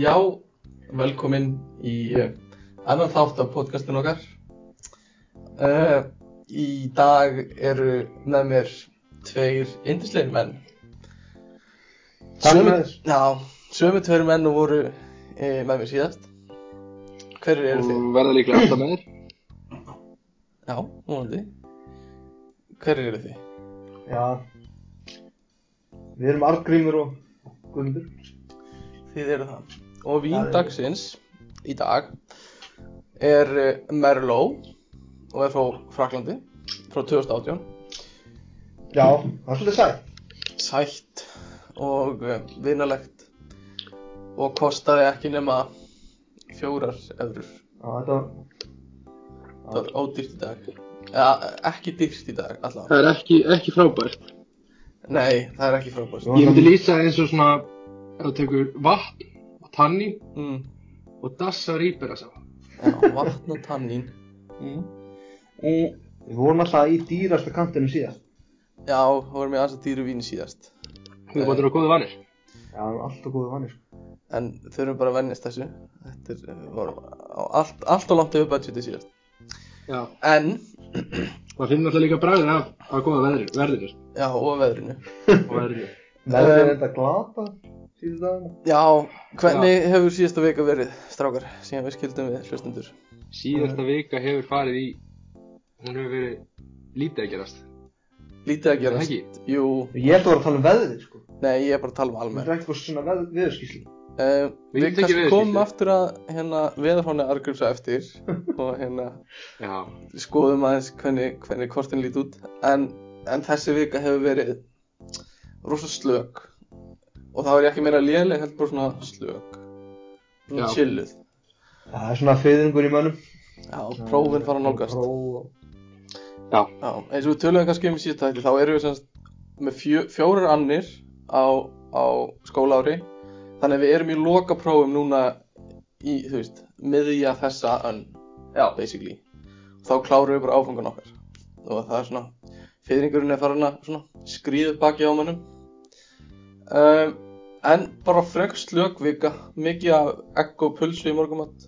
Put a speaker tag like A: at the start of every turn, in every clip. A: Já, velkomin í eh, annan þátt af podcastinu okkar. Uh, í dag eru með mér tveir yndislegir menn.
B: Takk
A: Sömu-
B: maður.
A: Já, sömu tveir menn og voru uh, með mér síðast. Hverjir eru þið?
B: og verða líklega alltaf með þér
A: Já, vonandi. Hverjir eru þið?
B: Já Við erum Arngrímur og Guðmundur
A: Þið eru það. Og
B: Það
A: vín
B: eru við.
A: dagsins í dag er eh, Merlot og er frá Fraklandi frá 2018.
B: Já, það er svolítið sætt
A: Sætt og eh, vinalegt og kostaði ekki nema fjórar eurur.
B: Já, þetta
A: Það var ódýrt í dag. Eða ekki dýrt í dag allavega.
C: Það er ekki, ekki frábært.
A: Nei, það er ekki frábært.
B: Jú.
C: Ég myndi lýsa eins og svona, ef þú tekur vatn og tannín
A: Mm,
C: og dassa rýpera saman.
A: já, vatn og tannín. Mm.
B: Við vorum alltaf í dýrasta kantinum síðast
A: Já, það vorum ég aðeins að dýru víni síðast.
C: Þú bátur á góðu vanir.
B: Já, við erum alltaf góðu vanir sko.
A: En þurfum bara að vennjast þessu. Þetta er, eh, var á allt, allt og langt yfir budgetið síðast.
C: Já,
A: En,
C: maður finnir alltaf líka bræðir af, af góða veðrinu, verðinu
A: já, og veðrinu.
C: og verðinu.
B: Verður
A: Um,
B: um, þetta glata síðan dagana?
A: Já, hvernig hefur síðasta vika verið, strákar, síðan við skildum við hlustundur?
C: Síðasta vika hefur farið í, hún hefur verið lítið að gerast.
A: Lítið að
C: Það
A: gerast.
C: ekki?
A: Jú,
B: Ég held að vera að tala um veðrið sko
A: nei, ég er bara að tala um
B: Það
A: almennt.
B: er eitthvað svona veð, veðurskísli
A: Uh,
C: Við getum tekið
A: við kannski
C: veðurskýrslu.
A: komum aftur að hérna, veðurhóna argjömsa eftir og hérna
C: Já,
A: skoðum aðeins hvernig, hvernig kortin lít út. En, en þessi vika hefur verið rosa slök og þá er ég ekki meira léleg, heldur bara svona slök.
C: Já.
A: Svona chilluð.
B: Það er svona fyrðingur í mönnum
A: Já, prófin fara að nálgast.
B: Próf og-
A: Já, eins og við töluðum kannski um í síðasta hætti, þá erum við semst með fjö, fjórar annir á, á skólaári þannig að við erum í lokaprófum núna í, þú veist, miðja þessa önn,
B: Já.
A: basically þá klárum við bara áfangan okkar og það er svona, fyrringurinn er farin að svona skrýðu baki á mönnum um, en bara frek slök vika mikið af egg og pulsu í morgumatt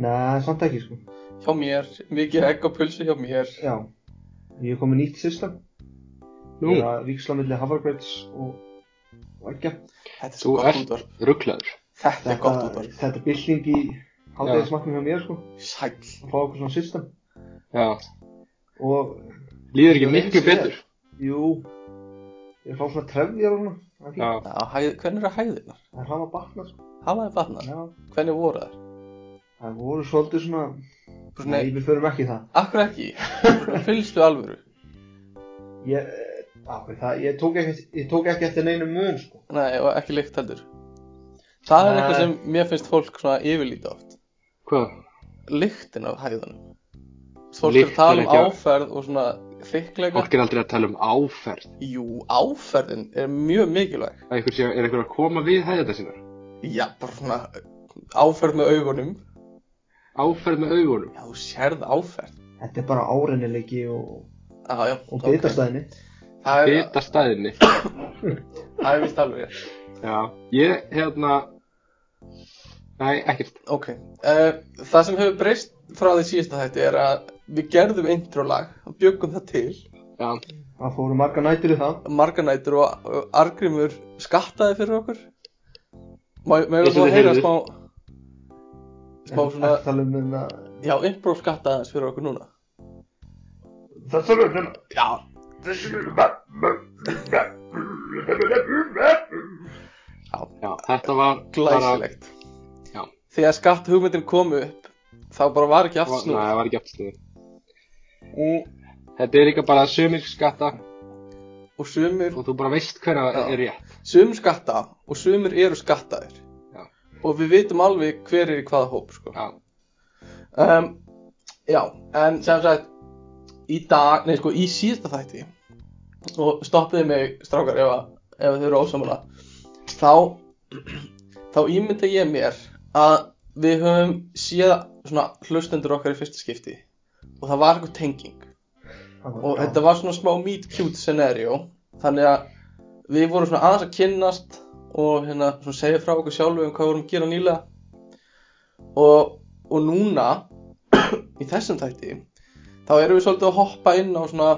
B: Nei, samt ekki sko
A: hjá mér, mikið af egg og pulsu hjá mér
B: Já Ég er komið nýtt system
C: nú,
B: Ég er að víksla milli Havargrets og Vækja
A: þetta er
C: þú
A: svo gott
C: ert
A: útvarp
C: rugglaður.
A: þetta er gott útvarp
B: Þetta er bylling í haldeigismaknum hjá mér sko
A: Sæll.
B: að fá okkur svona system
C: Já,
B: og
C: líður ekki
B: Ég
C: miklu
B: sé.
C: betur.
B: jú ég fá svona trefjar og svona það er fínt.
C: Já,
A: Já, hæð, hvernig eru hæðirnar?
B: það er hraða batna sko
A: Hafa þið batnað?
B: Já.
A: Hvernig voru þær?
B: það voru svolítið svona
A: Bara svona,
B: nei við förum ekki í það
A: Akkur ekki? Fylgstu alvöru?
B: ég, eh, á, það, ég, tók ekki, ég tók ekki eftir neinu mun sko
A: Nei, og ekki lykt heldur. Það er
B: Nei.
A: eitthvað sem mér finnst fólk svona yfirlítið oft.
C: hvað?
A: Lyktin af hæðunum. Fólk er
C: Lyktin
A: að tala um
C: ekki af-
A: áferð og svona þykkleika.
C: Fólk er aldrei að tala um áferð.
A: Jú, áferðin er mjög mikilvæg.
C: Að einhver sé, er einhver að koma við hæðina sínar?
A: Já, bara svona uh, áferð með augunum.
C: Áferð með augunum.
A: Já, þú sérð áferð.
B: þetta er bara árennileiki og,
A: Já, já.
B: og
A: ok.
B: bitastæðinni
A: Það er,
C: Bita staðinni.
A: það er vist alveg.
C: Já, ég, hérna, nei, ekkert.
A: Ok, uh, það sem hefur breyst frá því síðasta þætti er að við gerðum introlag og bjögum það til
C: Já,
B: það fóru marga nætur í það
A: marganætur og og Arngrímur skattaði fyrir okkur Má- Megum
C: Eins
A: við
C: og
A: að
C: þið
A: heyra
C: heyrðuð.
A: smá smá svona,
B: það tala um þetta
A: já, improv skattaði hans fyrir okkur núna
B: það tala um þetta
A: Já Já,
C: já, þetta var
A: glæsilegt
C: Já.
A: Þegar skatt hugmyndin kom upp þá bara var ekki
C: Bara,
A: aftur
C: nei,
A: snúið
C: það var ekki aftstöðu. Þetta er líka bara sumir skatta
A: og sumir
C: og þú bara veist hver að
A: Já.
C: er rétt.
A: sumir skatta og sumir eru skattaðir
C: Já.
A: og við vitum alveg hver er í hvaða hóp sko.
C: Já,
A: um, já, en sem sagt í dag, nei sko í síðasta þætti og stoppiði mig strákar ef, að- ef þau eru ósamala þá þá ímynda ég mér að við höfum séð svona hlustendur okkar í fyrsta skipti og það var eitthvað tenging og þetta var svona smá meet cute scenario þannig að við vorum svona aðeins að kynnast og hérna svona segja frá okkur sjálfu um hvað við vorum að gera nýlega og, og núna í þessum þætti þá erum við svolítið að hoppa inn á svona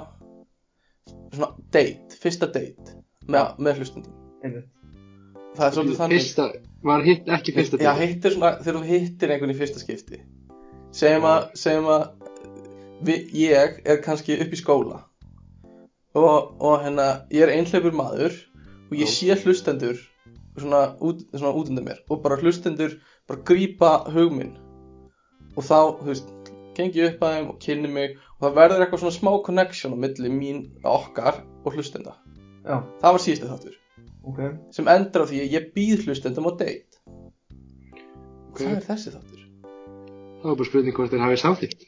A: svona date, fyrsta date með, með hlustundum
B: Einmitt.
A: það er svolítið þannig
D: Fyrsta, var hitt ekki fyrsta
A: Já,
D: date?
A: hittir svona, þegar þú hittir einhvern í fyrsta skipti segjum að, segjum að við, ég er kannski upp í skóla og, og hérna ég er einhleipur maður og ég sé hlustendur svona út, svona út undan mér og bara hlustendur bara grípa hug minn og þá, þú veist, gengi upp að þeim og kynni mig og það verður eitthvað svona smá connection á milli mín, okkar og hlustenda
B: Já,
A: það var síðustu þáttur
B: ok.
A: sem endur á því að ég býð hlustendum á date
D: Ok.
A: það er þessi þáttur
D: Það var bara spurning hvort þeir hafið samþýtt.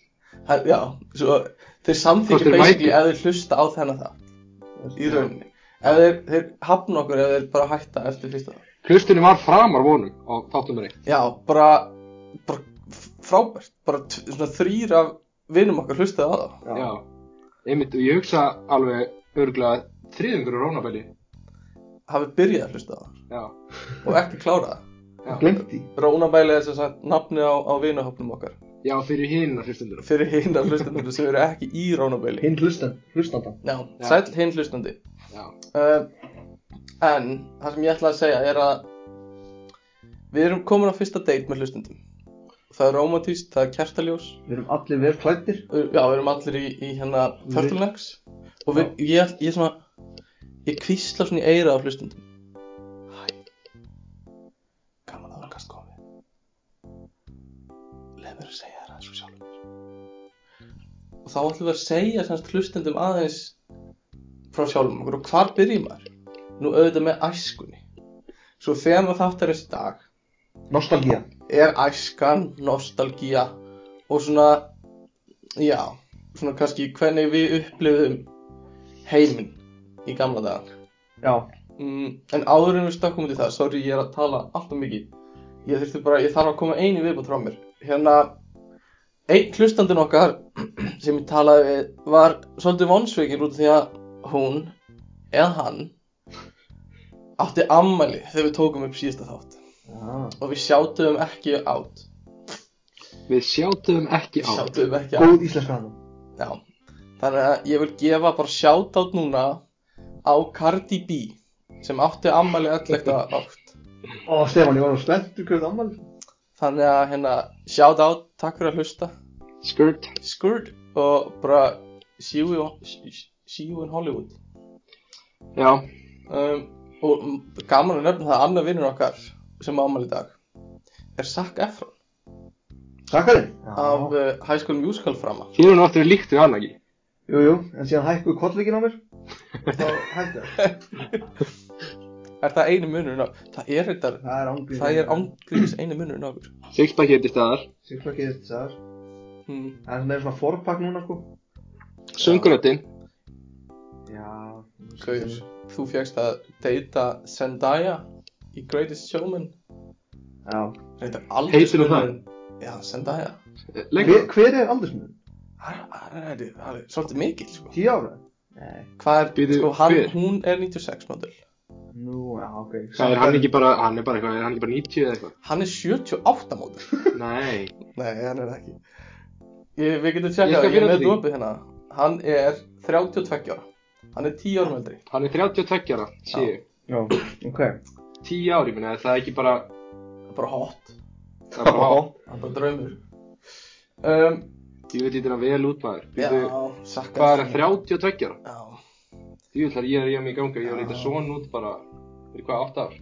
A: Það, já, svo, þeir
D: Hvort
A: samþykja
D: þeir
A: basically
D: mæti.
A: ef þeir hlusta á þennan það í rauninni ef þeir, þeir hafna okkur ef þeir bara hætta eftir fyrsta það
D: Hlustunum var framar vonum á þáttum er eitt.
A: já, bara, bara f- frábært bara t- svona þrýr af vinum okkar hlustaði á það
B: Já.
D: Já. Einmitt, og ég hugsa alveg örgulega þriðungur á Rónabelli.
A: hafi byrjað að hlusta á það
D: Já.
A: og ekki klárað það.
D: Já.
B: Glemt því.
A: Rónabæli er sem sagt nafni á, á vinahopnum okkar
D: Já, fyrir hinn að hlustundurum.
A: fyrir hinn af hlustandum sem eru ekki í Rónabæli
B: Hinn hlustan, hlustanda.
A: já,
D: Já.
A: sæll hinn hlustandi
D: Já.
A: uh, en það sem ég ætla að segja er að við erum komin á fyrsta date með hlustendum það er romantíst, það er kertaljós
B: Við erum allir vel klættir.
A: já, við erum allir í, í hérna
B: Við-
A: turtlenecks og við, ég, ég svona ég kvísla svona í eira á hlustendum hæ gaman að það kannski komið leið mér að segja þér aðeins og sjálfum mér. og þá ætlum við að segja semst hlustendum aðeins frá sjálfum okkur og hvar byrjum maður nú auðvitað með æskunni svo þegar maður þáttarins dag
B: Nostalgía.
A: er æskan, nostalgía og svona, já, svona kannski hvernig við upplifum heiminn í gamla daga.
B: Já.
A: Mm, en áður en við stökkum út í það, sorry, ég er að tala alltaf mikið. Ég þurfti bara, ég þarf að koma einu viðbútt frá mér. Hérna, einn hlustandinn okkar sem ég talaði við var svolítið vonsveikin út af því að hún, eða hann, átti ammæli þegar við tókum upp síðasta þátt
B: Já.
A: og við sjátum ekki átt.
D: Við sjáttum ekki á.
A: Sjáttum ekki á
B: Góð íslenska hana.
A: Já Þannig að ég vil gefa bara shoutout núna á Cardi B sem átti ammali 11. átt
B: Ó, Stefán, ég var nú spenntur hvernig ammal.
A: Þannig að hérna shoutout, takk fyrir að hlusta
D: Skirt.
A: Skurd og bara see you, see you in Hollywood
D: Já.
A: um, og mm, gaman að nefna það að annar vinnur okkar sem ammali í dag er Zac Efron
B: Sakkarinn?
A: af uh, High School Musical frama
D: Þér er náttúrulega líkt við hann ekki.
B: Jú, jú, en síðan hækkuðu kollvíkin á mér. Þá hætti það.
A: Er það einu munurinn á Það er þetta
B: Það er ángrið.
A: Það er ángriðis einu munurinn á okkur
D: Sixpack er til staðar.
B: Sjöklakið þetta sagðar.
A: hmm.
B: Það er svona meira svona forpakk núna, sko.
D: Sönguröttin.
B: Já.
A: Gaur, þú fegst að deyta Zendaya í Greatest Showman
B: Já.
A: Reyndar aldrei
D: Heitir hún það?
A: Já, Zendaya
B: Hver,
D: Lengur.
B: hver er aldursmunum?
A: Það er- það er- það er svolítið mikil, sko
B: 10 ára? Nei.
A: Hvað er,
D: Býtu,
A: sko, hann,
D: hver?
A: hún er 96 model
B: Nú, já, ok.
D: Hvað er hann ekki bara, hann er bara eitthvað, er hann ekki bara 90 eða eitthvað?
A: Hann er 78 model
D: Nei.
A: Nei, hann er það ekki ég, Við getum
D: Ég skal
A: tjekkað, ég er
D: finna
A: með
D: því.
A: dopið hérna Hann er 32 ára Hann er 10 ára meldri
D: Hann er 32 ára, sé ég.
B: Já, ok.
D: 10 ári, minna, er það ekki bara,
A: Bara hot,
D: það er bara,
A: hann er bara draumur um,
D: ég veit lítur að vel út maður.
A: Já,
D: Býtu,
A: sakka
D: hvað er að 32 ára?
A: Já,
D: Ég vil þar, ég er ég mig í ganga, ég
A: Já.
D: er lítur svona út bara, er hvað, 8 ár?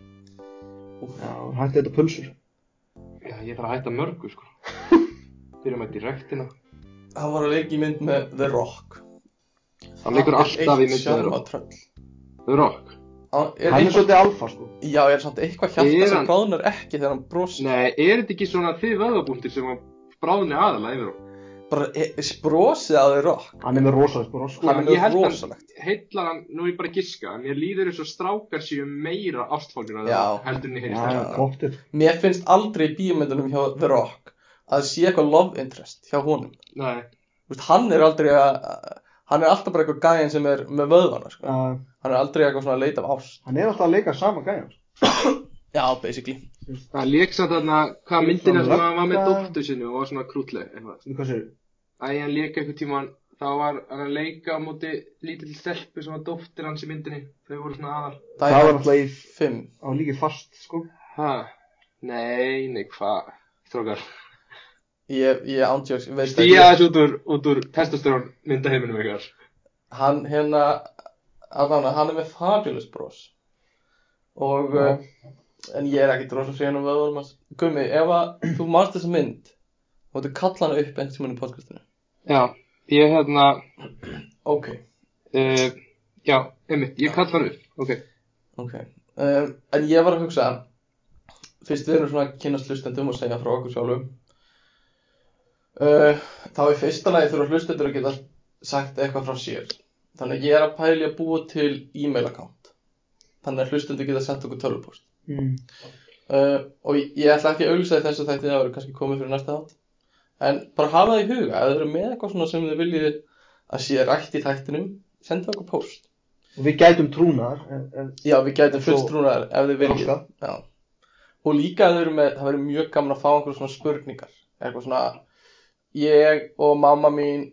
A: úf,
B: Já, hætti þetta pulsur.
D: Já, ég þarf að hætta mörgu, sko. Byrja með direktina.
A: hann var að leika í mynd með The Rock
D: Hann leikur alltaf í mynd með
A: sjálf á
D: rock.
A: tröll
D: The Rock.
A: Hann er
B: Hann er
A: eitthvað,
B: svolítið alfa, sko.
A: já, er samt eitthvað
D: Er
A: hjarta sem
D: hann-
A: bráðnar ekki þegar hann brosir
D: Nei, er þetta ekki svona þið vöðabúndir sem að bráðni aðalega yfir hún?
A: bara e- brosið á þau rock
B: Hann er með rosalega bros, sko.
A: Hann er
D: ég held hann-
A: rosalegt
D: Heillar hann, nú er ég bara að giska, en ég líður eins og strákar séu meira ástfólkir að
A: Já.
D: það heldur niður í
B: Já,
A: já.
D: stjórnum.
B: pottir.
A: mér finnst aldrei í bíomöndunum hjá The Rock að það sé eitthvað love interest hjá honum
D: Nei,
A: Vist, hann er aldrei að hann er alltaf bara eitthvað gæðin sem er með vöðvana sko.
B: uh,
A: hann er aldrei eitthvað svona að leita af ást
B: hann er alltaf að leika sama gæja sko.
A: já, basically
D: Það leik samt þarna, hvað myndina sem hann var með
B: Ragna-
D: dóttur sinni og var svona krútleg eitthvað.
B: Hvað segirðu?
D: Æ, hann leik eitthvað tíma, þá var hann að leika á móti lítill stelpu sem var dóttir hans í myndinni. Þau voru svona aðal.
B: það var alltaf í
A: fimm
B: á líki fast sko
D: Ha? Nei, nei, hvað? Strókar.
A: ég, ég ándjóks veist
D: Stíða þessu út úr, út úr testosterón myndaheiminum ykkar.
A: hann hérna allavega, hann er með fabulous bros og
B: Já.
A: uh, en ég er ekki droslega síðan um vöðvunum hans Gumi, ef að þú marst þessa mynd þú máttu kalla hana upp einhvers tímann í podcastinu
D: Já, ég hérna,
A: ok,
D: uh, já, einmitt, ég kall hann upp. Ok.
A: ok um, en ég var að hugsa fyrst við erum svona að kynast hlustendum og segja frá okkur sjálfum uh, þá í fyrsta lagi þurfa hlustendur að geta sagt eitthvað frá sér þannig að ég er að pæli að búa til e-mail account þannig að hlustendur geta sent okkur tölvupost
B: mm.
A: uh, og ég, ég ætla ekki að auglýsa í þessu þætti það verður kannski komið fyrir næsta þátt en bara hafa það í huga, ef þið eru með eitthvað svona sem þið viljið að sé rætt í þættinum senda okkur post
B: og við gætum trúnar en, en,
A: já, við gætum
B: Svo-
A: fulltrúnar ef þið viljið
B: Þroskað.
A: já. og líka ef þið eru með, það verður mjög gaman að fá einhverjum svona spurningar eitthvað svona ég og mamma mín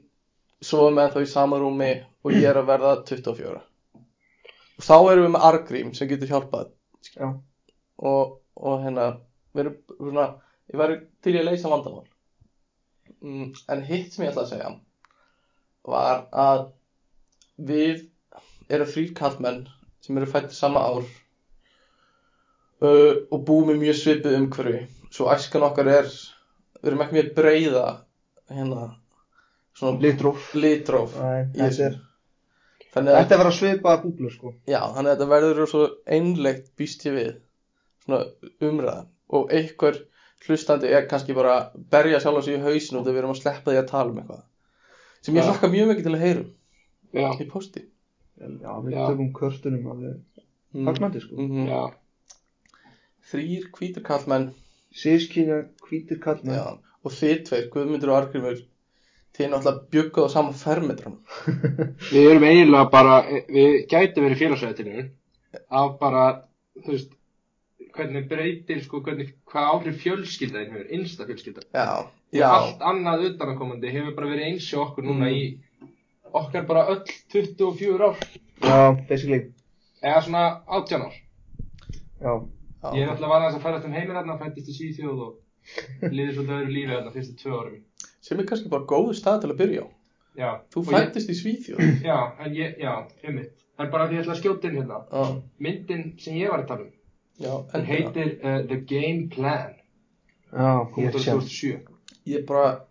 A: sofum með þá í sama rúmi og ég er að verða 24 og þá erum við með argrím sem getur hjálpað
B: já,
A: og, og hérna veru, svona, ég væri til í að leysa vandamál mm, en hitt sem ég ætla að segja var að við erum þrýr kallmenn sem eru fætt sama ár uh, og búum í mjög svipið umhverfi svo æskan okkar er við erum ekki mjög breyða hérna svona
B: litróf
A: litróf
B: Nei,
A: í
B: þetta er
A: þessu. þannig að
B: Þetta er að vera svipaða búblu sko
A: Já, þannig að þetta verður svo einlegt býst ég við svona umræða og einhver hlustandi er kannski bara að berja sjálf á sig í hausinu þegar við erum að sleppa því að tala um eitthvað sem ég
D: Já.
A: hlakka mjög mikið til að heyrum
D: Já,
A: í posti
B: Já, við
D: Já.
B: tökum kvörtunum alveg fagnandi sko
A: mm -hmm.
D: já.
A: Þrýr hvítur kallmenn
B: Sískynja hvítir kallna
A: já, og þið tveir, Guðmundur og Argrimur þið náttúrulega bjögguð á sama fermetran
D: Við erum eiginlega bara, við gætum verið félagsrættinu af bara, þú veist, hvernig breytir, sko, hvernig, hvað áhrif fjölskylda þeim hefur, innsta fjölskylda.
A: Já,
D: Já.
A: já, Mm.
D: Allt annað utanakomandi hefur bara verið eins og okkur núna í okkar bara öll 24 ár,
B: Já, basically
D: eða svona 18 ár.
B: Já,
A: já.
D: Ég er alltaf vanað að færast um heimir þarna, fættist í Svíþjóð og liðið svolítið öðru lífi þarna fyrstu tvö árum.
A: sem er kannski bara góðu stað til að byrja á
D: Já.
A: Þú
D: Og ég-
A: fættist í Svíþjóð
D: Já, en ég, já, einmitt. Það er bara því ég ætla að skjóta inn hérna.
A: Já,
D: Myndin sem ég var að tala um,
A: já,
D: Hún
A: endilega.
D: heitir uh, The Game Plan
B: já,
D: kom út
B: ég
D: á
B: sé
D: 2007
A: Ég bara,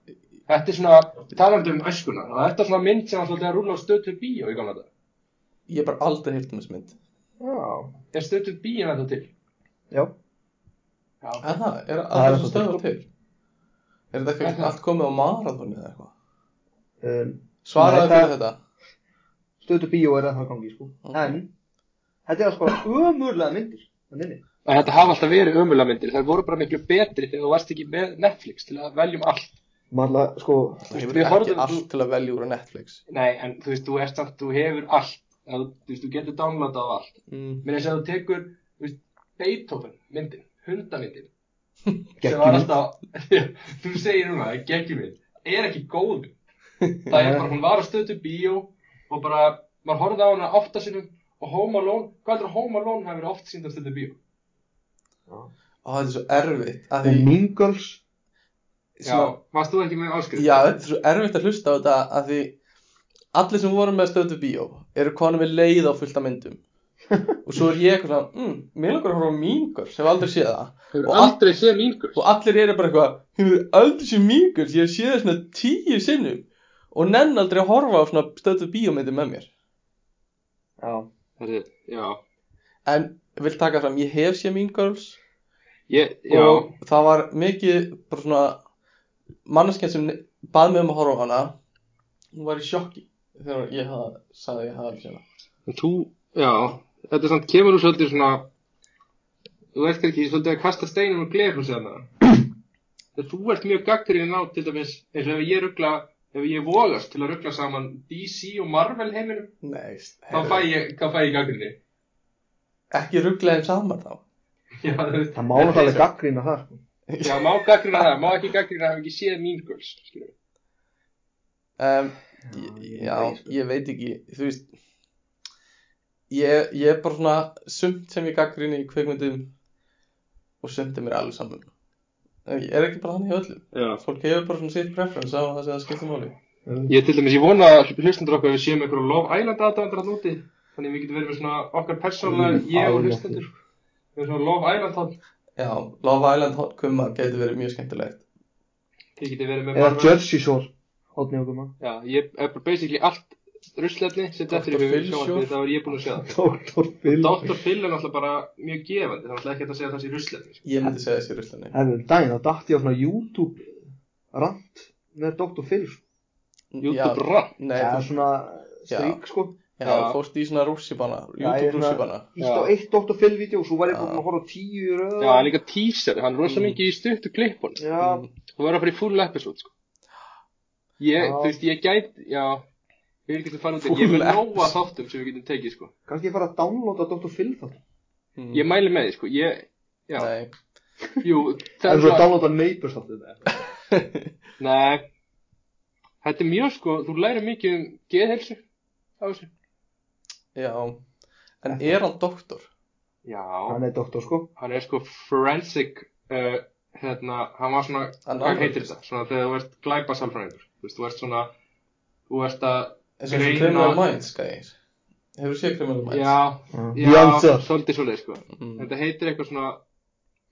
D: Þetta er svona, talandi um öskuna og þetta er svona mynd sem var svolítið að rúla á stötu bíó í gamla þetta
A: ég bara aldrei heyrt um þessu mynd
B: Já,
D: Er stötu bíó þetta til?
B: já
D: Já,
A: En það, er
B: Það
A: að
B: er
A: þessu
B: alltaf
A: stöðu til? Er þetta
D: Er
A: ekki
D: það?
A: allt komið á marathónu eða eitthvað?
B: um,
A: Svaraðu
B: Nei,
A: fyrir
B: það-
A: þetta?
B: Stöðu bíó er það að gangi sko
A: Ok.
B: En Þetta er alls bara ömurlega myndir Þannig
D: En þetta hafa alltaf verið ömulega myndir þær voru bara miklu betri þegar þú varst ekki með Netflix til að veljum allt
B: Marla, sko
A: Það
D: við
A: hefur ekki
D: horfðum-
A: allt til að velja úr að Netflix.
D: Nei, en þú veist, þú, ert, samt- þú hefur allt Eða þú, þú veist, þú getur downloadað allt
A: Mm.
D: Mér þess að þú tekur, þú veist, Beethoven myndin, hundamyndin sem var
B: Geggjum
D: alltaf þú segir núna, geggjum við er ekki góð það er bara, hún var að stöðu bíó og bara, maður horfði á hana ofta sinnum og Home Alone, hvað heldur að Home Alone hafi verið oft sínd að stöðu bíó
A: Ó, þetta er svo erfitt. Að
B: Og
A: því,
B: Mean Girls
A: svona,
D: varst þú ekki með
A: já.
D: áskrif?
A: þetta er svo erfitt að hlusta á þetta að því allir sem voru með stöðu bíó eru konum við leið á fullta myndum. og svo er ég eitthvað svona, mm, mér langar að horfa á mingur sem aldrei séð það.
D: hefur
A: og
D: aldrei séð mingur
A: Og allir eru bara eitthvað, hefur aldrei séð mingur, ég hef séð það svona tíu sinnum og nenn aldrei að horfa á svona stöðu bíómyndi með mér.
B: Já
D: já,
A: En ég vil taka fram, ég hef séð Mean Girls
D: ég, já
A: og það var mikið bara svona manneskjan sem ne- bað mig um að horfa á hana hún var í sjokki þegar ég hafði, sagði að ég hafði alveg séð hana
D: en þú, já, þetta er samt kemur þú svolítið svona þú veist ekki, svolítið að kasta steinum og glerhús eða með það þú ert mjög gaggrinn á til dæmis eins og ef ég ruggla ef ég vogast til að ruggla saman DC og Marvel heiminum
A: Nei,
D: þá fæ ég, hvað fæ ég gaggrinni
A: Ekki rugglega þeim saman þá
D: Já, þú veist,
B: Það má náttúrulega alveg
D: þetta er
B: gaggrína það sko.
D: svo. Já, má gaggrina það, má ekki gaggrina það, ekki séð Mean Girls skilurðu.
A: um,
B: ég
A: Já,
B: veit, sko.
A: ég veit ekki Þú veist Ég, ég er bara svona sumt sem ég gaggrinni í kveikmyndum og sumt er mér alveg saman Ég er ekki bara þannig í öllum Fólk hefur bara svona sitt preference á það sem það skiptir máli
D: Ég til dæmis, ég vona að hlustendur okkar við séum einhverjum Love Island aðdáðandur að núti þannig að við getum verið með svona okkar persónulega,
B: Mm,
D: ég og
B: alveg.
D: hlustendur við erum svona Love Island þátt
A: Já, Love Island kumma getur verið mjög skemmtilegt
D: þið getur verið með
B: Eða
D: Marvel.
B: Jersey Shore Átni okkur maður
D: Já, ég er bara basically allt ruslefni sem þetta
A: Dr.
D: er í
A: Phil
D: hugum sjónvarpið,
A: show.
D: þá er ég búinn að sjá það
B: Dr. Phil
D: Dr. Phil er náttúrulega bara mjög gefandi, það er náttúrulega ekkert að segja það sé ruslefni sko.
A: Ég myndi segja þessi ruslunni
B: Hefðu, um daginn þá dætti ég á svona YouTube rant með Dr. Phil sko.
D: YouTube rann
A: Nei,
B: Það
A: þú
B: er svona strík sko
A: Já,
D: Já.
A: þú fórst í svona rússibana, YouTube
B: ég er svona-
A: rússibana
B: Íst á eitt Dr. Phil vídeo og svo var ég
A: Já.
B: búinn að horfa á tíu í röð
D: Já, líka teaser, hann er rosa mikið í stuttu klippun
B: Já,
A: Mm,
D: Þú verður að fara í full episode sko. Ég,
B: Já.
D: þú veist, ég gæt, já Við erum getið að fara út
A: Full
D: Ég vil
A: episode.
D: nóa þáttum sem við getum tekið sko.
B: kannski ég fara að downloada Dr. Phil þá
A: Mm.
D: Ég mæli með því sko. ég, já,
A: Nei,
D: jú
B: Það er
D: það
B: svo að
D: er
B: downloada Neighbors þá þetta
D: Nei Þetta er mjög sko, þú lærir mikið um geðhelsu á þessu
A: já En er hann doktor?
D: Já,
B: Hann er doktor sko
D: hann er sko forensic uh, hérna, hann var svona
A: Hann var-
D: hvað heitir þetta, svona þegar þú ert glæpa sálfræðingur, þú veist, þú ert svona þú ert að,
A: Eins og svona
D: Greina-
A: Criminal Minds, gæðir Hefur þú séð Criminal Minds?
D: já, já
B: Beyonce.
D: svolítið svolítið, sko,
A: Mm.
D: þetta heitir eitthvað svona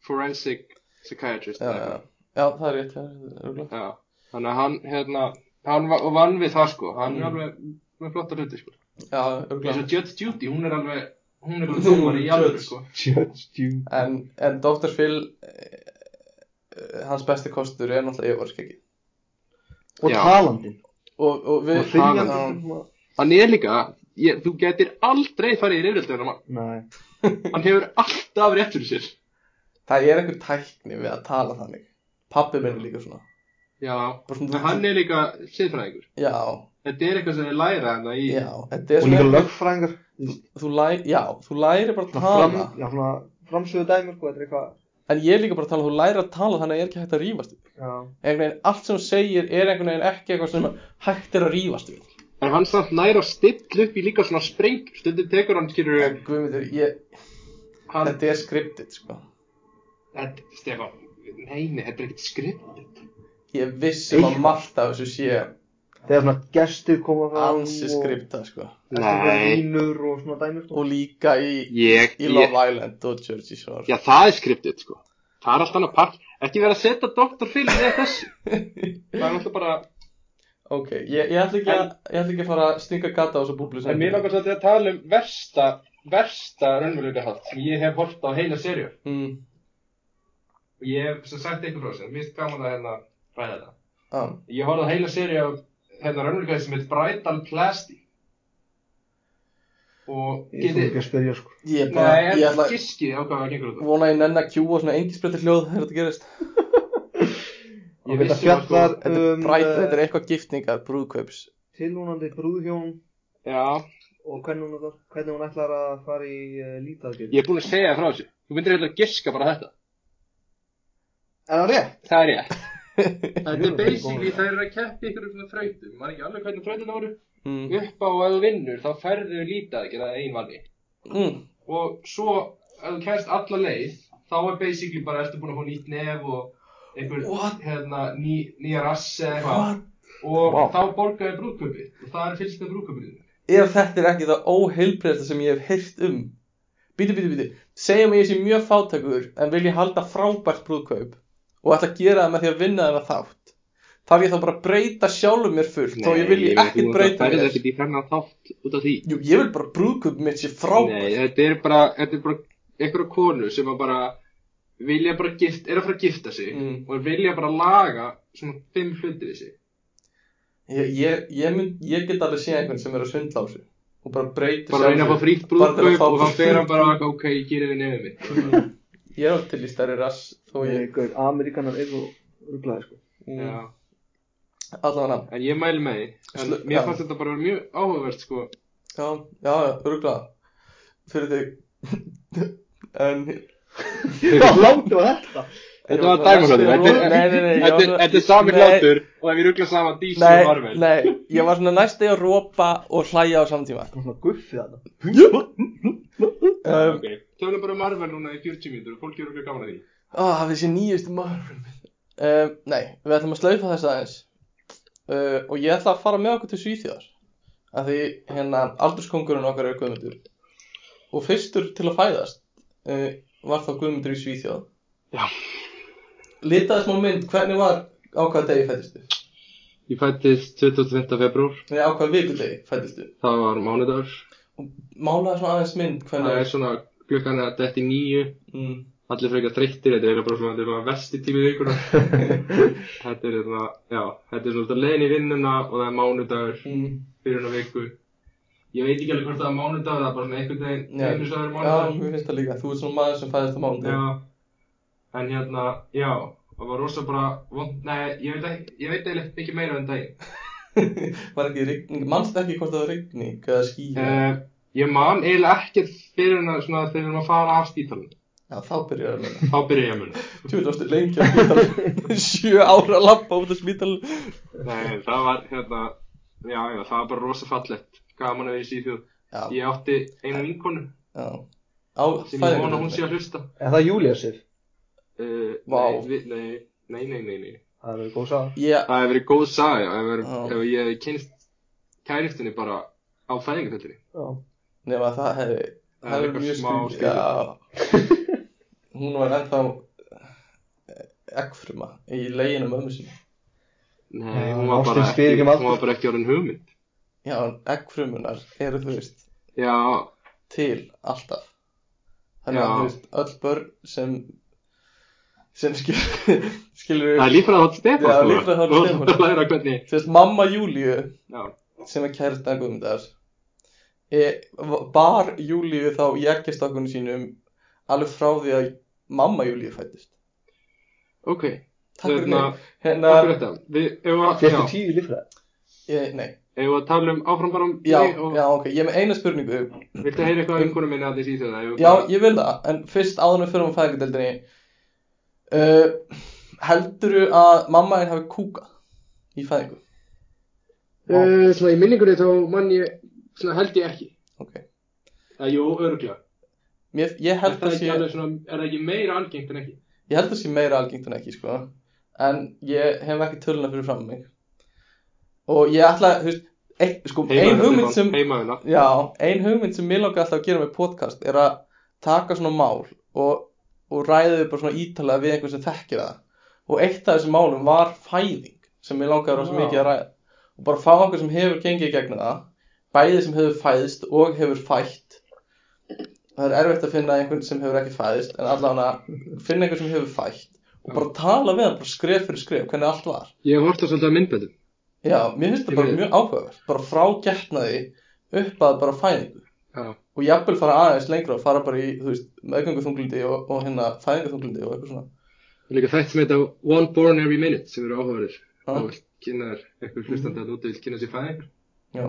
D: forensic psychiatrist
A: já,
D: eða
A: já,
D: eitthvað.
A: já, það er rétt það er örugglega.
D: já, þannig að hann hérna, hann var, og vann við það sko hann
A: Mm.
D: er alveg með flotta hluti, sko
A: Já,
D: eins
A: örugglega
D: og Judge Judy, hún er alveg hún er alveg
A: Hún er
D: dómari í alveg,
A: judge.
D: sko
B: Judge Judy
A: en, en Dr. Phil eh, eh, hans besti kostur er náttúrulega yfirvarskeggi
B: Og
D: Já.
B: talandinn
A: og, og við
B: Og hrynjandinn
A: Já,
B: svona.
D: hann er líka, ég, þú getur aldrei farið í reyfrildi hann,
B: Nei
D: hann hefur alltaf rétt fyrir sér
A: það er einhver tækni við að tala þannig pappi minn er líka svona
D: Já,
A: Bara svona-
D: en hann er líka siðfræðingur.
A: já,
D: Þetta er eitthvað sem þið læra þarna í...
A: já, þetta er
B: Og líka lögfræðingar
A: þú læ, já, þú læri bara að
B: Svona
A: tala
B: fram, já, svona framsöðu dæmi sko Þetta er eitthvað
A: en ég er líka bara að tala, þú læri að tala þannig að er ekki hægt að rífast við.
B: Já
A: einhvern veginn, allt sem þú segir er einhvern veginn ekki eitthvað sem hægt er að rífast við
D: En hann samt nær að stilla upp í líka svona spreng. Stundum tekur hann, skilur
A: en guðmyndur, ég,
D: hann...
A: þetta er skriptið sko.
D: Þetta, Stefán, nei, nei, þetta er ekkert skrippið.
A: ég vissum að
B: Eitthvað.
A: margt af þessu sé
B: Þegar svona gestir koma fram
A: ansi
B: og-
A: skriptað sko.
B: Þetta er
D: Nei.
B: svona Vínur og svona dæmi sko
A: og líka í,
D: Ég,
A: í Love Island og Jersey Shore
D: Já, það er skrippið, sko. Það er allt annað part. Ekki vera að setja Dr. Phil með þessu. það er alltaf bara...
A: ok, ég, ég, ætla ekki að, ég ætla ekki að fara að stinga gata á þessu búblu sem
D: En mér langar svolítið að tala um versta, versta raunveruleikahald sem ég hef hort á heila serju.
A: mm,
D: Og ég hef sem sagt eitthvað frá þessu. Mér finnst gaman að hérna ræða þetta.
A: á,
D: Ég horfði á heila séri af hérna raunveruleikaði sem heit Bridal Plasti og
B: Ég þarf
D: geti
B: ekki að spyrja sko
A: ég bara,
D: Nei,
A: ég
D: en
A: ætla
D: giskið á hvað það gengur út á.
A: vona að ég nenn að kjúa svona engisbreytir hljóð þegar þetta gerist
D: Ég
B: Ég veit að
D: vissi það, sko.
B: fjallar
A: þetta er,
B: um
A: bræt,
B: eh,
A: þetta er eitthvað giftningar, brúðkaups
B: Tilvonandi brúðhjón
D: Já,
B: og hvernig hún, hvernig hún ætlar að fara í uh, lítaðgerð
D: ég er búinn að segja það frá þessu. Þú myndir hérna að giska bara þetta.
B: Er það rétt?
D: Það er ég. Þetta
B: Jú,
D: er
B: það er
D: basically
B: góð.
D: það er að keppi ykkur um svona þrautum. Maður ekki alveg hvernig þrautina voru.
A: mm.
D: Upp á að þú vinnur þá færðu við lítið að gera einn vanni.
A: Mm.
D: Og svo ef þú kæst alla leið þá er basically bara ertu búinn að fá nýtt nef og einhver
A: What?
D: hérna ný, nýja rass eða eitthvað.
A: What?
D: og
B: Vá.
D: þá borgaði brúðkaupi og það er fyrsta brúðkaupið
A: ef þetta er ekki það óheilbreyðasta sem ég hef heyrt um bíti, bíti, bíti segjum að ég sé mjög fátakur en vil ég halda frábært brúðkaup og ætla að gera það með því að vinna þennan þátt þarf ég þá bara að breyta sjálfum mér fullt þó ég vil ég ekkert breyta
D: mér
A: mér
D: Það er ekki þennan þátt út af því
A: Jú, ég vil bara brúðkaup mitt sé frábært
D: Nei, þetta er bara, þetta er bara einhverja konu sem að bara vilja bara gift, er að fara að gifta sig
A: Mm.
D: og vilja bara laga svona fimm hluti við sig
A: ég, ég, ég, mynd, ég get alveg séð einhvern sem er að svindla á sig og bara breyta
D: bara reyna að fá frítt
A: Bara til að
D: brúðkaup
A: fá
D: og þá fer hann
A: frítt
D: bara ok, ég gerir við nefnum mitt
A: brúðkaup. ég er alveg til í stærri rass þó
B: Nei,
A: ég
B: gaur, Ameríkanar eru rugglaði sko
A: mm,
D: Já.
A: allavega
D: En ég mæli með því. En
A: Slu- já.
D: mér fannst þetta bara vera mjög áhugavert, sko.
A: já, já, já, örgulega fyrir þig en
B: Hvað láttu var þetta?
D: Þetta var dæmahlátur.
A: Næsti
D: Þetta
A: róður-
D: er-
A: Nei, nei, nei, ég var
D: þetta er-
A: svona-
D: þetta er sami
A: Nei,
D: hlátur og ef ég ruggla saman DC
A: Nei,
D: og Marvel.
A: nei, ég var svona næsti að rópa og hlæja á samtíma
B: Það var svona guffið þarna.
A: um,
D: Ok, tölum bara um Marvel núna í 40 mínútur og fólk eru ruggla gaman að því.
A: Ah, þessi nýjustu Marvel mynd. um, Nei, við ætlum að slaufa þess aðeins uh, Og ég ætla að fara með okkur til Svíþjóðar Af því, hérna, aldurskongurinn okkar er Guðmundur Og fyrstur til að fæðast uh, Var þá Guðmundur í Svíþjóð
D: Já.
A: Litaði smá mynd, hvernig var á hvaða degi fættistu?
D: Ég fættist 25. februar,
A: Nei, á hvaða vikudegi fættistu?
D: það var mánudagur.
A: Málaði svona aðeins mynd,
D: Það
A: hvernig
D: er svona klukkan að þetta er nýju,
A: mm,
D: allir frekar þreyttir, þetta er eiginlega bara svona, þetta er svona vesti tími vikuna. þetta er svona, já, þetta er svona leiðin í vinnuna og það er mánudagur
A: mm,
D: fyrir hennar viku. Ég veit ekki alveg hvort það er mánudagur, það er bara svona einhvern veginn,
A: Já.
D: einu sem það er
A: Já,
D: mánudagur.
A: mér finnst það líka, þú ert svona maður sem fæðist á mánudegi
D: Já, en hérna, já, það var rosa bara, vond, nei, ég veit ekki, ég veit eiginlega ekki meira en daginn.
A: Var ekki rigning, mannst ekki hvort það var rigning eða skýja
D: Uh, ég man eiginlega ekkert fyrir hennar svona þegar við erum að fara af spítalinn.
A: Já, þá byrjar það meina.
D: Þá byrja ég að muna.
A: Þú veist, ástu lengi á spítal, sjö ára að lappa út á spítal.
D: Nei, það var, hérna, já, já, það var bara rosa fallett. Gaman að vera í Svíþjóð.
A: Já,
D: Ég átti einu vinkonu
A: já. Á
D: sem ég vona að hún sé að hlusta.
B: Er það Júliusif?
D: Uh,
A: Vá.
D: Nei, vi- nei, nei, nei, nei, nei.
B: Það er góð saga.
A: Ég,
D: Það hefur verið góð saga já, ef,
A: Já.
D: ef ég hefði kynst kæristinni bara á fæðingarfjöldinni.
B: Já.
A: nema það hefði,
D: Það er eitthvað smá
A: skrýtið. Já. Hún var ennþá eh, eggfruma í leginu mömmu sinni.
D: Nei,
B: Já,
D: hún var bara
B: ástin spyr
D: ekki,
B: ekki um aldur.
D: hún var bara ekki orðin hugmynd.
A: Já, en eggfrumunar eru, þú veist,
D: Já,
A: til alltaf. Þannig
D: Já.
A: að, þú veist, öll börn sem, sem skil, skilur,
D: það er lífrað hótt Stefán.
A: Já, líffræðihátt Stefáns.
D: Það læra hvernig,
A: þú veist, mamma Júlíu
D: já,
A: sem er kærist að Guðmundar e, v- bar Júlíu þá í ekkjastakkunni sínum alveg frá því að mamma Júlíu fættist
D: ok.
A: Takk fyrir
D: Hérna,
A: mig hérna,
D: Takk fyrir þetta. Við, ef að,
B: Fyrstu
D: já,
B: tíu í líffræði.
A: ég, nei,
D: ef að tala um áfram bara um
A: já,
D: mig og
A: já, ok, ég er með eina spurningu
D: viltu heyra eitthvað um konu minni að því síðu það?
A: já, ég vil það, en fyrst áðunum fyrir um fæðingadeldinni uh, heldurðu að mamma þín hafi kúkað í fæðingu
D: Uh, svona í minningunni þá mann ég, svona held ég ekki.
A: ok,
D: Það, Eh, jú, örgla.
A: Mér, ég
D: Er
A: held
D: það
A: að
D: ekki
A: sé
D: alveg svona, er það ekki meira algengt en ekki?
A: Ég held að það sé meira algengt en ekki, sko En ég hef ekki töluna fyrir fram mig Og ég ætla, þú veist, ein, sko, ein hugmynd sem
D: Heimaðuna.
A: Já, ein hugmynd sem mér langar alltaf að gera með podcast Er að taka svona mál Og, og ræða þau bara svona ítalega við einhvern sem þekkir það Og eitt af þessum málum var fæðing Sem mér langaði rosa
D: Já.
A: mikið að ræða Og bara fá einhvern sem hefur gengið í gegnum það Bæði sem hefur fæðst og hefur fætt Það er erfitt að finna einhvern sem hefur ekki fæðst En allavega finna einhvern sem hefur fætt Og bara tala við hann, bara skref fyrir skref, hvernig allt var
D: Ég hef horta svolítið að myndböndum.
A: Já, mér finnst
D: Ég
A: það bara
D: veit.
A: mjög áhugavert bara frá getnaði upp að bara fæðingu
D: Já.
A: og jafnvel fara aðeins lengra og fara bara í, þú veist, meðgönguþunglindi og, og hérna fæðingaþunglindi og eitthvað svona
D: Líka þætt sem heita One Born Every Minute sem eru áhugaverðir.
A: Ha? Mhm.
D: Það vil kynna þér, eitthvað hlustandi að úti vil kynna sér fæðing.
A: Já,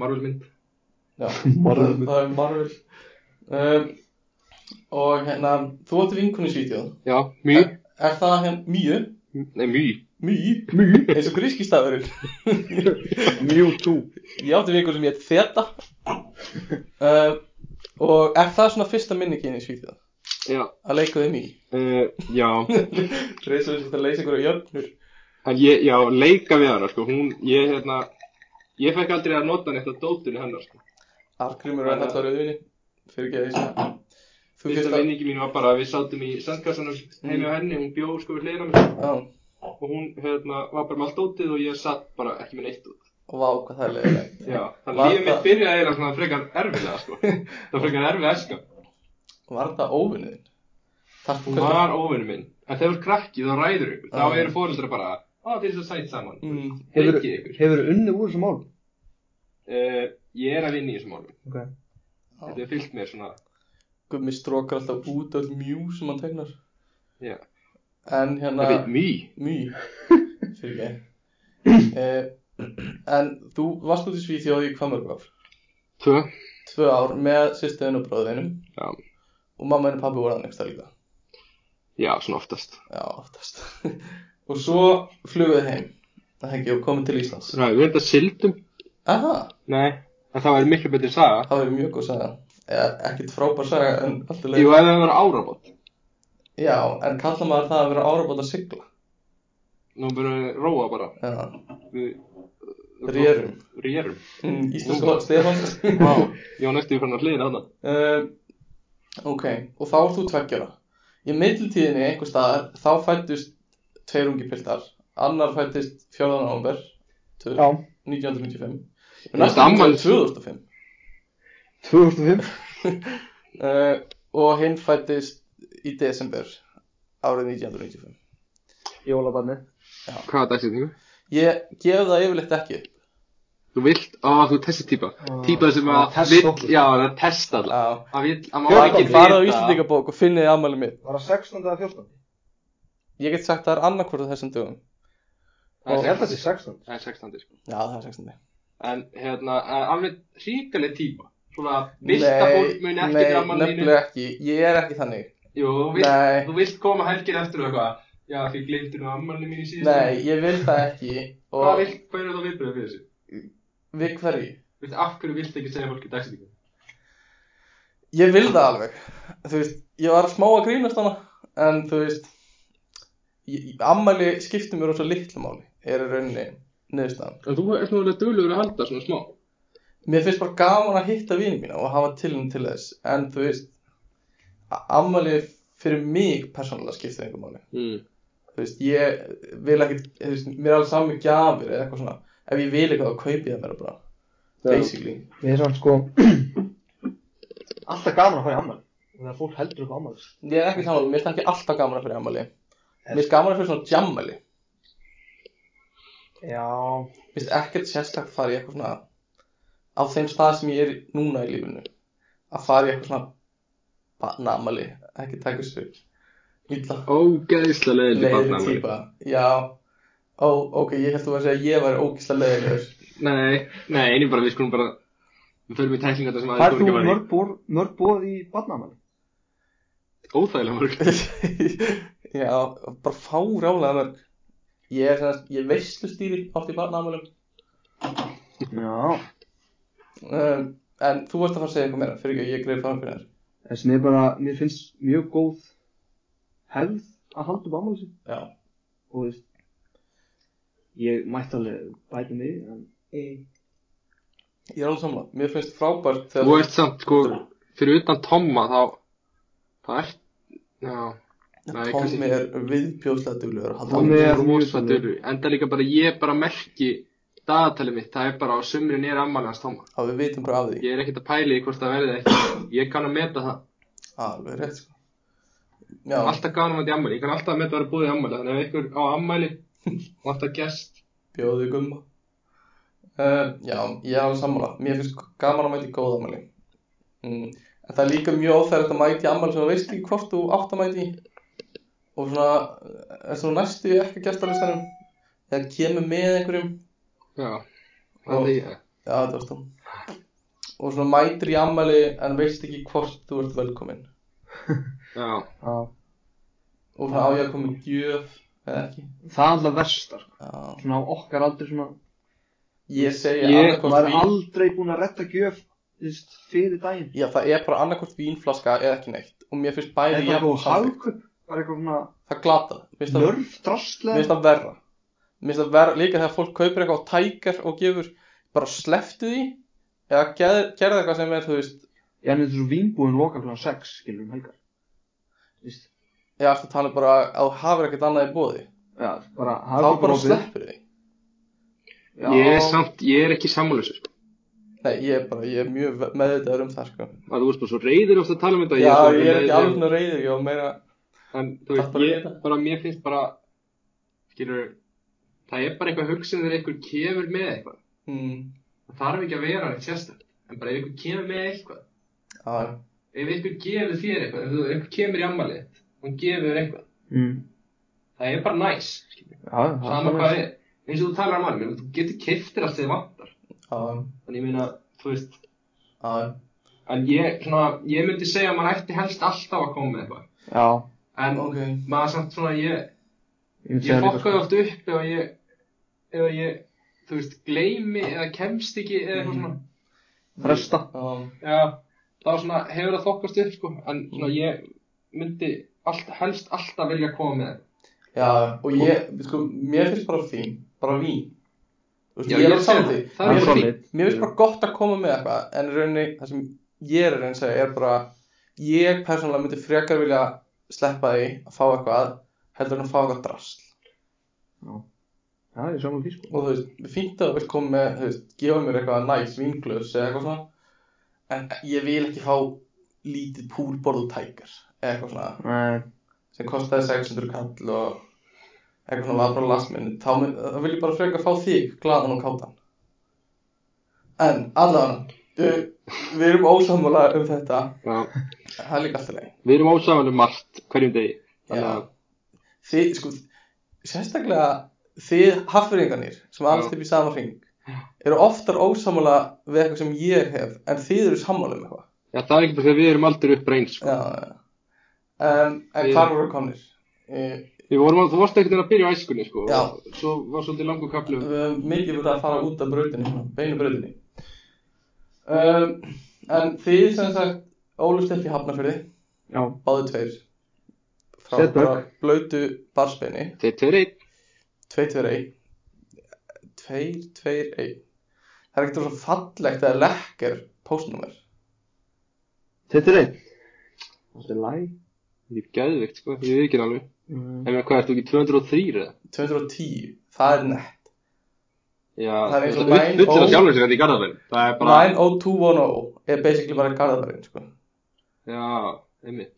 D: Marvel mynd.
A: já
B: Marvel.
A: Það er Marvel um, Og hérna, þú átti vinkunni svítjóð
D: Já, mý.
A: Er það hérna mjög,
D: Nei, mý.
A: mjög,
B: Mjú.
A: eins og gríski stafurinn
B: Mjú tú.
A: Ég átti vinkun sem ég heit Þeta um, Og er það svona fyrsta minningin í svítjóð?
D: Já.
A: Að leika við mjög
D: Uh, já,
A: Reisa við sér að leysa ykkur á jöfnur
D: en ég, já, leika við hana, sko, hún, ég, hérna, ég fekk aldrei að nota neitt af dótunni hennar, sko.
A: Argrímur er hægt á rauðvinni fyrir ekki að því Þú
D: Fyrsta
A: fyrst að Mm.
D: minningi mín var bara að við sátum í sandkassanum heimi á henni, hún bjó, sko, við hlera mér
A: Já,
D: og hún, hérna, var bara með allt dótið og ég satt bara ekki með neitt út.
A: og vá hvað það er leiðilegt
D: Já, þannig
A: Var
D: að lífið
A: það-
D: mitt byrjaði eiginlega svona frekar erfilega, sko. það var frekar erfið eska.
A: Var það óvinniðin? Þarf þú
D: Hún
A: kannski
D: var óvinni minn, en þegar þú ert krakki þá ræður ykkur,
A: Já.
D: þá eru fóreldra bara, á, þeir eru svo sætt saman,
A: Ah. Mm.
D: hefur
B: Hefur,
D: ykkur.
B: hefur unni úr þessum mál?
D: Uh, ég er að vinna í þessum orðum,
B: Ok.
A: Ah.
D: þetta er fyllt mér svona,
A: Gummi strókar alltaf út öll mjú sem hann tegnar
D: Já.
A: En hérna
D: það veit mý.
A: Mjú Fyrir ekki uh, En þú varst út í Svíþjóð í hvað mörg ár?
D: Tvö.
A: Tvö ár með sýstuðin og bróðinum
D: Já.
A: Og mamma henni pabbi voru að nexta líka
D: Já, svona oftast.
A: Já, oftast Og svo flugðið heim Það hengi og komið til Íslands
D: Ræ, við erum þetta sildum.
A: Aha,
D: Nei. En það væri miklu betri saga.
A: það var mjög góð saga Eða, ekkert frábær saga en alltaf leið
D: Jú, ef það var árabót.
A: Já, en kalla maður það að vera árabót að sigla
D: Nú byrjum við að róa bara.
A: Já,
D: Við...
A: rérum
D: Rérum.
A: Mm, Íslensk og Stefán
D: Vá, ég var næstu í fann að hliða þarna.
A: um, Ok, og þá er þú tveggjara Í meðlutíðinni einhver staðar þá fættust tveir ungi piltar annar fættist 14. november tvö-
B: Já.
A: 1995
D: Þú
A: og næstu
D: veist, afmælis-
A: 2005
B: 2005
A: uh, og hinn fættist í desember árið 1995
B: Jólabanni
D: Hvað er dagsetningu?
A: Ég gef það yfirleitt ekki upp.
D: Þú vilt, á, þú er þessi típa. Típa sem
B: að
D: að
B: testa
D: vill,
B: okkur.
D: já, það er testa alltaf.
A: Já.
D: Að vill, að
B: Ég
D: maður
B: var
D: ekki
A: Farið
B: ekki
A: farið á Íslandingabók og finnið afmælið mitt
B: Var það 16. eða 14.
A: Ég get sagt að það er annarkvort á þessum dögum
D: Það
B: Ég
D: er
B: held að það
D: 16.
B: sé 16.
D: Það er 16. sko.
A: Já, það er 16.
D: En hérna, en alveg ríkaleg típa. Svona, vilt að fólk
A: Nei,
D: muni
A: nei,
D: eftir gaman línu.
A: nefnilega ekki Ég er ekki þannig
D: Jú, þú vilt,
A: Nei,
D: þú vilt koma helgir eftir og eitthvað. Já, því gleymtir nú ammalni mín í síðan.
A: nei, ég vil það ekki
D: Hvað
A: og
D: vilt, hvað eru það viðbröðið fyrir þessu?
A: við hverju?
D: Þú veist, af hverju vilt ekki segja fólki dagsetningu?
A: Ég vil það alveg þú veist, ég var smá að grínast hana en þú veist ég, ammæli skipti mér rosa litlu máli er í rauninni niðurstaðan
D: En þú ert náttúrulega duglegur að halda svona smá.
A: Mér finnst bara gaman að hitta vini mína og hafa tilnum til þess en þú veist a- ammæli fyrir mig persónulega skipti einhver máli
D: Mm.
A: þú veist, ég vil ekki þú veist, mér er alveg saman gjafir eða eitthvað svona ef ég vil eitthvað þá kaupi ég það mér bara basically
B: Við erum svona sko Alltaf gaman að fara í ammal Þegar fólk heldur upp ammal
A: Ég er ekki sammála, mér finnst það ekki alltaf gamara fyrir ammali Mér finnst gamara fyrir svona jammali Mér
B: Já
A: finnst ekkert sérstakt að fara í eitthvað svona Á þeim stað sem ég er núna í lífinu Að fara í eitthvað svona Barnammali, ekki taka þessu Ítla
D: Ógeðslega leiðileg
A: leiðri
D: barnaafmæli.
A: típa Já, ó, ok, ég held þú að segja að ég væri ógislega leiðilegur
D: Nei, nei, einu bara, við skulum bara Við förum í tæklingar sem
B: Hvað er
D: aðeins voru
B: þú
D: ekki að
B: mörg bóð, mörg bóð í barnaammal?
D: fara í Óþægilega mörg
A: Já, bara fá rálega mörg Ég er svona, ég veislu stýri átt í barnaammalum
B: Já
A: um, En þú varst að fara að segja eitthvað meira Fyrir ekki, ég greið fram fyrir þér
B: En sem er bara, mér finnst mjög góð hefð að halda upp ammal sér
A: Já.
B: Og þú veist Ég mætti alveg bæta mig en
A: Ég er alveg samla, mér finnst frábært þegar
D: Þú ert samt, sko, fyrir utan Tomma þá Það er, já Nei,
A: Tommy er viðbjóðslega duglegur að halda
B: Tommy-
A: Tommy...
B: er
D: er
B: mjög
D: rosa
B: duglegur.
D: dörru Enda líka bara, ég bara merki Dagatalið mitt, það er bara á sumrin er ammali hans Tomma
A: að við vitum bara af því
D: Ég er ekkert að pæli hvort það verði ekki Ég kann að meta það
A: alveg rétt sko Já,
D: Alltaf gaman að mæta í ammali, ég kann alltaf að meta að vera búið í ammali Þannig að ef ykkur á ammali og alltaf gest
A: bjóðu gumma uh, Já, ég er alveg samla Mér finnst gaman að mæta í góð ammali mm. En það er líka mjög óþægilegt að mæta í ammali sem þú veist ekki hvort þú átt að mæta í og svona er svona næstu í ekki gestalistanum eða kemur með einhverjum
D: Já,
A: Og-
D: það er ég
A: Já, þetta varst þú og svona mætir í ammali en veist ekki hvort þú ert velkomin
D: Já,
B: Já
A: og svona á ég að koma í gjöf eða ekki
B: Það er alltaf verstar
A: Já.
B: Svona á okkar aldrei svona
A: ég segja
D: Ég-
B: Maður
A: annarkvort
B: er
A: vín
B: aldrei búin að retta gjöf þú veist, fyrir daginn
A: já það er bara annarkvort vínflaska eða ekki neitt og mér finnst bæði
B: eitthvað
A: jafn
B: eitthvað
A: samþykkt.
B: hagkaup bara eitthvað svona
A: það glata mér finnst það- mér
B: nörf drastlega
A: finnst það verra mér finnst það verra líka þegar fólk kaupir eitthvað og tækar og gefur bara sleftu því eða gerð, gerði eitthvað sem er þú veist
B: ég hann er þessu vínbúin loka kl. 6 skilur um helgar Þú veist,
A: ég ætti að tala um bara að þú hafir ekkert annað í bóði
B: já, bara
A: þá
B: hagkaup
A: bara sleppur því
D: ég er samt, ég er ekki sko. sammálusur
A: nei ég er bara ég er mjög ve- meðvitaður um það sko
D: að þú veist bara svo reyður ofta að tala um þetta
A: já
D: svo
A: ég er um- ekki
D: leiður.
A: alveg svona reyður ég var meira
D: en þú veist,
A: Takk bara
D: ég
A: fyrir þetta.
D: bara, mér finnst bara skilur, það er bara eitthvað hugsun þegar einhver kemur með eitthvað
A: mm,
D: það þarf ekki að vera neitt sérstætt en bara ef einhver kemur með eitthvað
A: að,
D: ef einhver gefur þér eitthvað, ef þú- ef einhver kemur í ammalið og hann gefur þér eitthvað,
B: mm.
D: það er bara næs nice,
B: já, það
D: sama hvað er,
C: eins og þú talar um hann, ég meina, þú getur kiftir allt sem þið vantar
A: já,
C: en ég meina, þú veist
A: já,
C: en ég, svona, ég myndi segja að maður ætti helst alltaf að koma með eitthvað
B: Já,
C: en
A: ok
C: maður samt svona, ég,
B: ég myndi segja
C: ég
B: líka sko.
D: sko.
C: fokkaði oft upp ef að ég, ef að ég þú veist, gleymi eða kemst ekki eða eitthvað svona
A: Mhm.
B: Fresta
A: já,
C: Já, það var svona, hefur það þokkast upp sko, en svona
A: Mhm.
C: ég myndi allt, helst alltaf vilja koma með þetta.
A: já, og ég, sko, mér finnst bara fín bara vín Þú veist,
C: Já,
A: ég er
C: ég
A: að
C: sé
A: saman
C: það.
A: því
C: Það er
A: Mér finnst-
B: solid.
A: Mér finnst bara gott að koma með eitthvað en í rauninni, það sem ég er að reyna að segja er bara ég persónulega myndi frekar vilja sleppa því að fá eitthvað heldur en að fá eitthvað drasl
B: Já, ég er saman því sko
A: og þú veist, mér fínt að þú vilt koma með þú veist, gefa mér eitthvað næs vinglöfs eða eitthvað svona en ég vil ekki fá lítið púlborðu tækar eða eitthvað svona
B: Nei,
A: sem kostaði 600 kall og eitthvað svona var bara last minute þá mun- þá vil ég bara freka fá þig gladan og kátan en allan uh, við erum ósammála um þetta
D: Já.
A: það er líka alltaf leið
D: Við erum ásaman um margt hverjum degi. Þannig
A: Já.
D: að-
A: þið, sko, sérstaklega þið haffyringarnir sem alast
D: Já.
A: upp í sama hring eru oftar ósammála við eitthvað sem ég hef en þið eru sammála um eitthvað
D: Já, það er ekki bara því að við erum aldrei uppreins. Sko.
A: Já, já. en, en
D: Við-
A: hvar voru komnir? Uh,
D: Við vorum að, þú varst ekkert að byrja á æskunni, sko.
A: Já.
D: og Svo var svolítið langur um- kaplu.
A: við höfum mikið verið að fara út af brautinni, svona, beinu brautinni. Um, en þið sem sagt ólust upp í Hafnarfjörði,
B: já,
A: báðu tveir, frá
B: Setberg.
A: bara blautu barsbeini,
D: Þeir tveir einn.
A: tveir, tveir, ein, tveir, tveir, ein. Það er ekkert svo fallegt eða lekker postnúmer.
B: þetta er einn Þetta er læg
D: Ég er gæðvikt, sko. Ég veit ekki alveg.
B: Mm.
D: Ég meina, hvað, ertu ekki 203 eða?
A: 210, það er nett.
D: Já,
A: Það er eins og
D: þetta
A: nine
D: uppfyllir
A: oh.
D: það sjálfur sér þetta í Garðabæn. Það er bara,
A: 90210 er basically bara garðarinn, sko.
D: já, einmitt.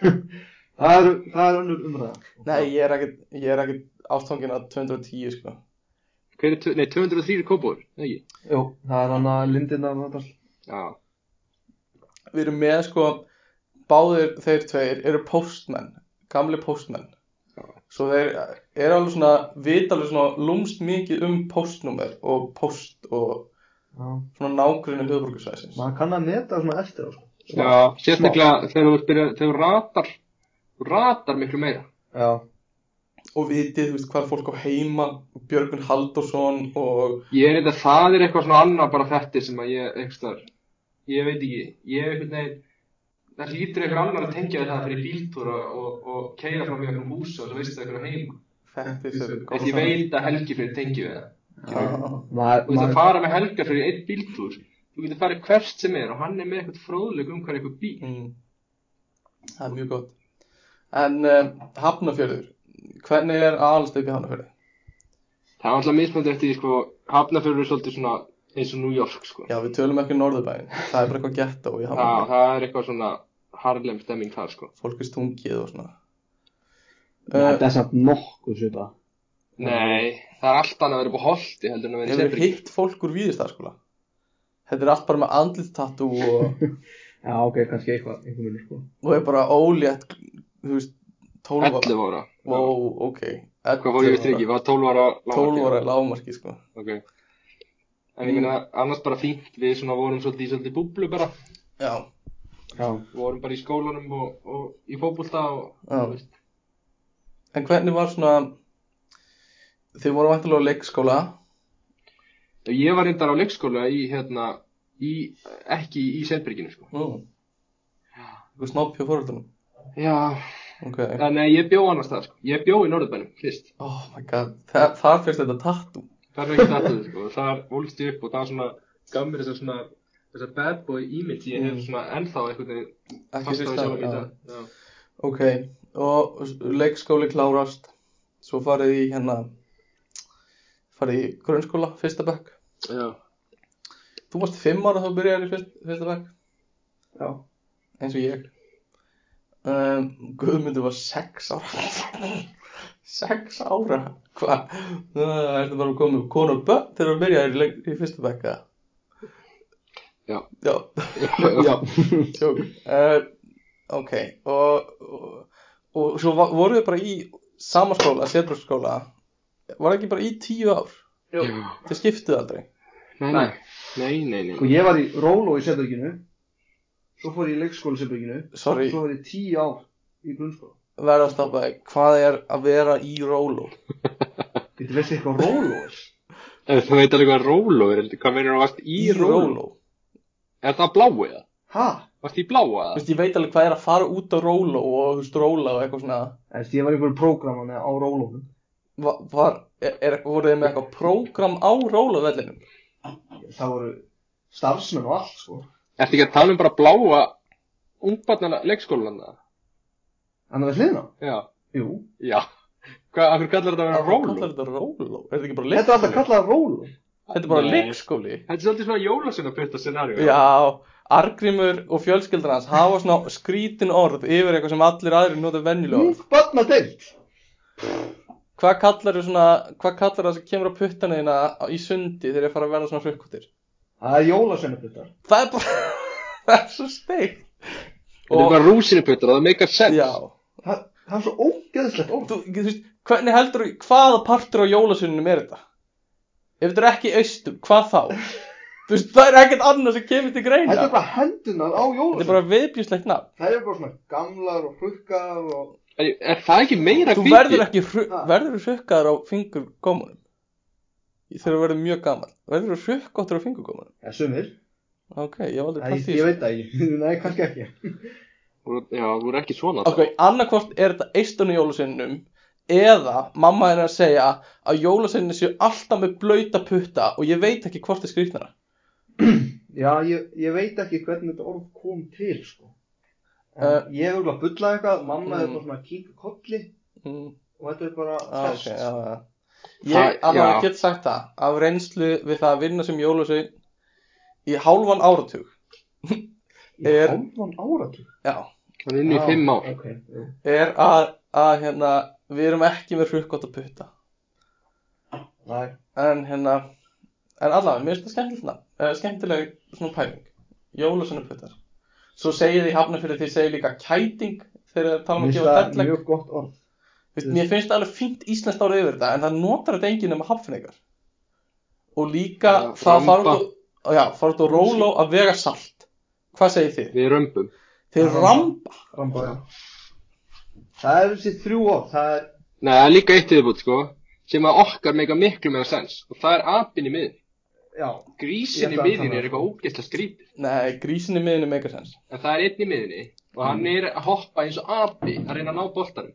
B: Það er, það er önnur umræða
A: Nei, ég er ekkert, ég er ekkert ástfangin að 210, sko.
D: Hver er, tv- nei, 203 kópur, ekki?
B: Jú, það er hann að lindina og þetta
D: Já,
A: við erum með sko báðir þeir tveir eru postmenn gamli postmenn
D: Já.
A: svo þeir eru alveg svona vita alveg svona lúmst mikið um postnúmer og post og
B: Já,
A: svona nágrunni höfbrukarsvæsins
B: maður kann að meta svona eftir á sko
D: já, sérstaklega þegar þú byrjar, þegar þú ratar, þú ratar miklu meira.
B: Já,
A: og vitið þú veist hvað fólk á heima Björgun Haldursson og
D: Ég er eitthvað, það er eitthvað svona annað bara þetta sem að ég, eitthvað, ég veit ekki, ég er eitthvað neginn, það hlýtur eitthvað annar að tengja þetta fyrir bíltúra og, og keira fram í einhverjum húsi og svo veist það eitthvað heima.
A: þetta sem við
D: Þetta ég veit að helgi fyrir tengi við það.
A: saman.
B: maður,
D: Þú veist að
B: maður
D: fara með helga fyrir einn bíltúr, þú getur farið hvert sem er og hann er með eitthvað fróðleg um hvað er eitthvað bíl.
A: Já, mm. það er mjög gott en um, Hafnafjörður hvernig er aðalst upp í Hafnafjörði?
D: Það er alltaf mismöndi eftir, því, sko, hafnafjörður er svolítið svona eins og New York, sko.
A: Já, við tölum ekki um Norðurbæin það er bara eitthvað gett í
D: Já,
A: Hafnafjörði
D: það er eitthvað svona harlem stemming þar, sko.
A: fólk er stungið og svona
B: Þetta
A: uh,
B: er samt nokkuð svipa
D: Nei, það er allt annað að vera upp á holti heldur en að vera í
A: Eh, hefur
D: setringi.
A: hitt fólk úr výðistarskóla þetta er allt bara með andlitattú og,
B: Já, ok, kannski eitthvað, einhver munur sko
A: og er bara ólétt þú veist, 12 ára
D: 11 ára.
A: wow, ok, 11
D: Hvað fór ég veist ekki, var 12 ára lágmarkið?
A: 12 ára er lágmarki sko
D: Ok. En ég meina, annars bara fínt, við svona vorum svolítið í svolítið búblu bara,
A: já,
B: Já,
D: vorum bara í skólanum og, og í fótbolta og,
A: Já.
D: þú veist.
A: en hvernig var svona þið voru vantilega á leikskóla
D: Ég var reyndar á leikskóla í, hérna, í, ekki í Selberginu, sko.
A: nú eitthvað snopp hjá fórhaldunum
D: Já,
A: ok,
D: en nei, ég bjó annars það, sko. Ég bjó í Norðbænum, fyrst.
A: oh my god Þa, þar fyrst þetta tattú
D: Þar er ekki þetta, sko. Þar volst ég upp og það er svona, gaf mér þessar svona, þessar bad boy image, ég hef
A: Mm.
D: svona ennþá einhvern veginn
A: ekki
D: fast á
A: fyrst
D: sjálfum í
A: það
D: dag. Já.
A: Ok, og leikskóli klárast, svo farið í hérna, farið í grunnskóla, fyrsta bekk.
D: Já.
A: Þú varst fimm ára þá þú byrjaðir í fyrst, fyrsta bekk,
B: já,
A: eins og ég. Um, Guðmundur var sex ára. sex ára? Hvað? Það ertu bara að koma með konu og börn þegar þú byrjaðir í, leik- í fyrsta bekk, eða?
D: Já.
A: Já,
B: já
A: tjók. Uh, ok, og, og, og svo va- voruð þið bara í sama skóla, sérbröksskóla, var það ekki bara í tíu ár
B: Jú.
A: þið skiptið aldrei
D: Nei, nei, nei, nei, nei.
B: Sko ég var í Róló í Sefbyrginu Svo fór ég í leikskóla í Sefbyrginu
A: sorry,
B: Svo var ég tíu ár í grunnskóla
A: verða að stoppa þig hvað er að vera í rólu
B: Þetta veist eitthvað Róló er
D: Ef Þú veit alveg hvað róló er, heldur, hvað meinar þú varst í róló? Er það bláu eða?
B: Ha?
D: Varst í bláu
A: Þú
D: eða?
A: veist, ég veit alveg hvað er að fara út á rólu og þú veist, róla og eitthvað svona
B: En því ég var í einhverju prógraman á Rólónum
A: Va- var, er, er, voruð þið með eitthvað prógram á róluvellinum
B: Það voru starfsmenn og allt sko
D: Ertu ekki að tala um bara bláa ungbarnana leikskólanna?
B: En það var hliðna?
D: Já,
B: Jú
D: já. Hvað, af hverju kallar þetta að vera
A: Kallar
D: róló?
A: þetta róló? Er þetta ekki bara
B: Þetta er alltaf
A: leikskóli?
B: kallað Róló
A: Þetta er bara
D: Nei.
A: leikskóli
D: Þetta er svolítið svona jólasina putta scenarjó.
A: Já, Argrímur og fjölskyldur hans hafa svona skrítin orð yfir eitthvað sem allir aðrir nota venjulega orð.
B: Barna deilt
A: Hvað kallar þú svona, hvað kallar það sem kemur á puttana þína á- í sundi þegar ég fara að verða svona hrukkutir?
B: Það er jólasennaputtar
A: Það er bara, það er svo steikt.
D: Þetta er bara rúsinu puttar, það meikar sens.
A: já,
B: Það það er svo ógeðslegt orð
A: þú, þú veist, hvernig heldur þú, hvaða partur á jólasunninum er þetta? Ef þetta er ekki austur, hvað þá? þú veist, það er ekkert annað sem kemur til greina.
B: Þetta er bara hendunar á
A: Þetta er
B: jólasennaputtar
A: bara viðbjúslegt nafn.
B: Það er bara svona gamlar og hrukkaðar og
D: Er, er það ekki meira
A: Þú
D: kvíti?
A: verður ekki, hru,
B: Ha.
A: verður þú hrukkaður á fingurgómanum? Þegar þú verður mjög gammal. Verður þú hrukkóttur á fingurgómanum?
B: Já, sumir
A: Ok, ég hef aldrei
B: Æ,
A: pælt í
B: ég
A: þessu.
B: veit það ekki, nei kannski ekki
D: Þú- Já, þú er ekki svona
A: Ok, annarkvort er þetta eistun í jólaseininum eða mamma henni að segja að jólaseinin séu alltaf með blöyta putta og ég veit ekki hvort þið skrýtnara.
B: Já, ég, ég veit ekki hvernig þetta orð kom til sko. En
A: Eh.
B: Ég hef örugglega bullað eitthvað, mamma er
A: Mm.
B: bara svona að kinka kolli
A: Mm,
B: og þetta er bara
A: á, Ah, ok,
B: fest
A: já, já.
D: Það-
A: Ég alveg
D: já.
A: get sagt það af reynslu við það að vinna sem jólasein í hálfan áratug.
B: Í
A: Er-
B: hálfan áratug
A: Já,
D: Hann er inn í
B: Já,
D: fimm ár.
B: Ok, eh. jú.
A: er að, að hérna, við erum ekki með hrukkótt putta.
B: Nei,
A: en hérna en allavega, mér finnst það skemmtilega uh, skemmtileg svona pæling jólasunarputtar svo segir þið hafna fyrir þið segir líka kæting þegar þið tala um að
B: mér finnst
A: gefa
B: það
A: delleg
B: mjög gott orð
A: Vist, mér finnst það alveg fínt íslenskt árið yfir þetta en það notar þetta enginn nema haffinningar og líka
D: Já,
A: það
D: ramba.
A: farið og já, farið og róló að vega salt hvað segir þið?
D: Við römbum.
A: þið
B: Ramba.
A: ramba
B: Ramba, já Það eru þessi þrjú orð, það er
D: Nei, það er líka eitt yfirbútt, sko, sem að okkar meika miklu meira sens. Og það er apinn í miðin.
B: Já,
D: Grísin
B: Ég
D: í
B: ætla að
D: miðin
B: tala um
D: er eitthvað ógeðslega skrítið.
A: nei, grísin í miðinu megasens
D: En það er einn í miðinni og hann er að hoppa eins og api að reyna að ná boltanum.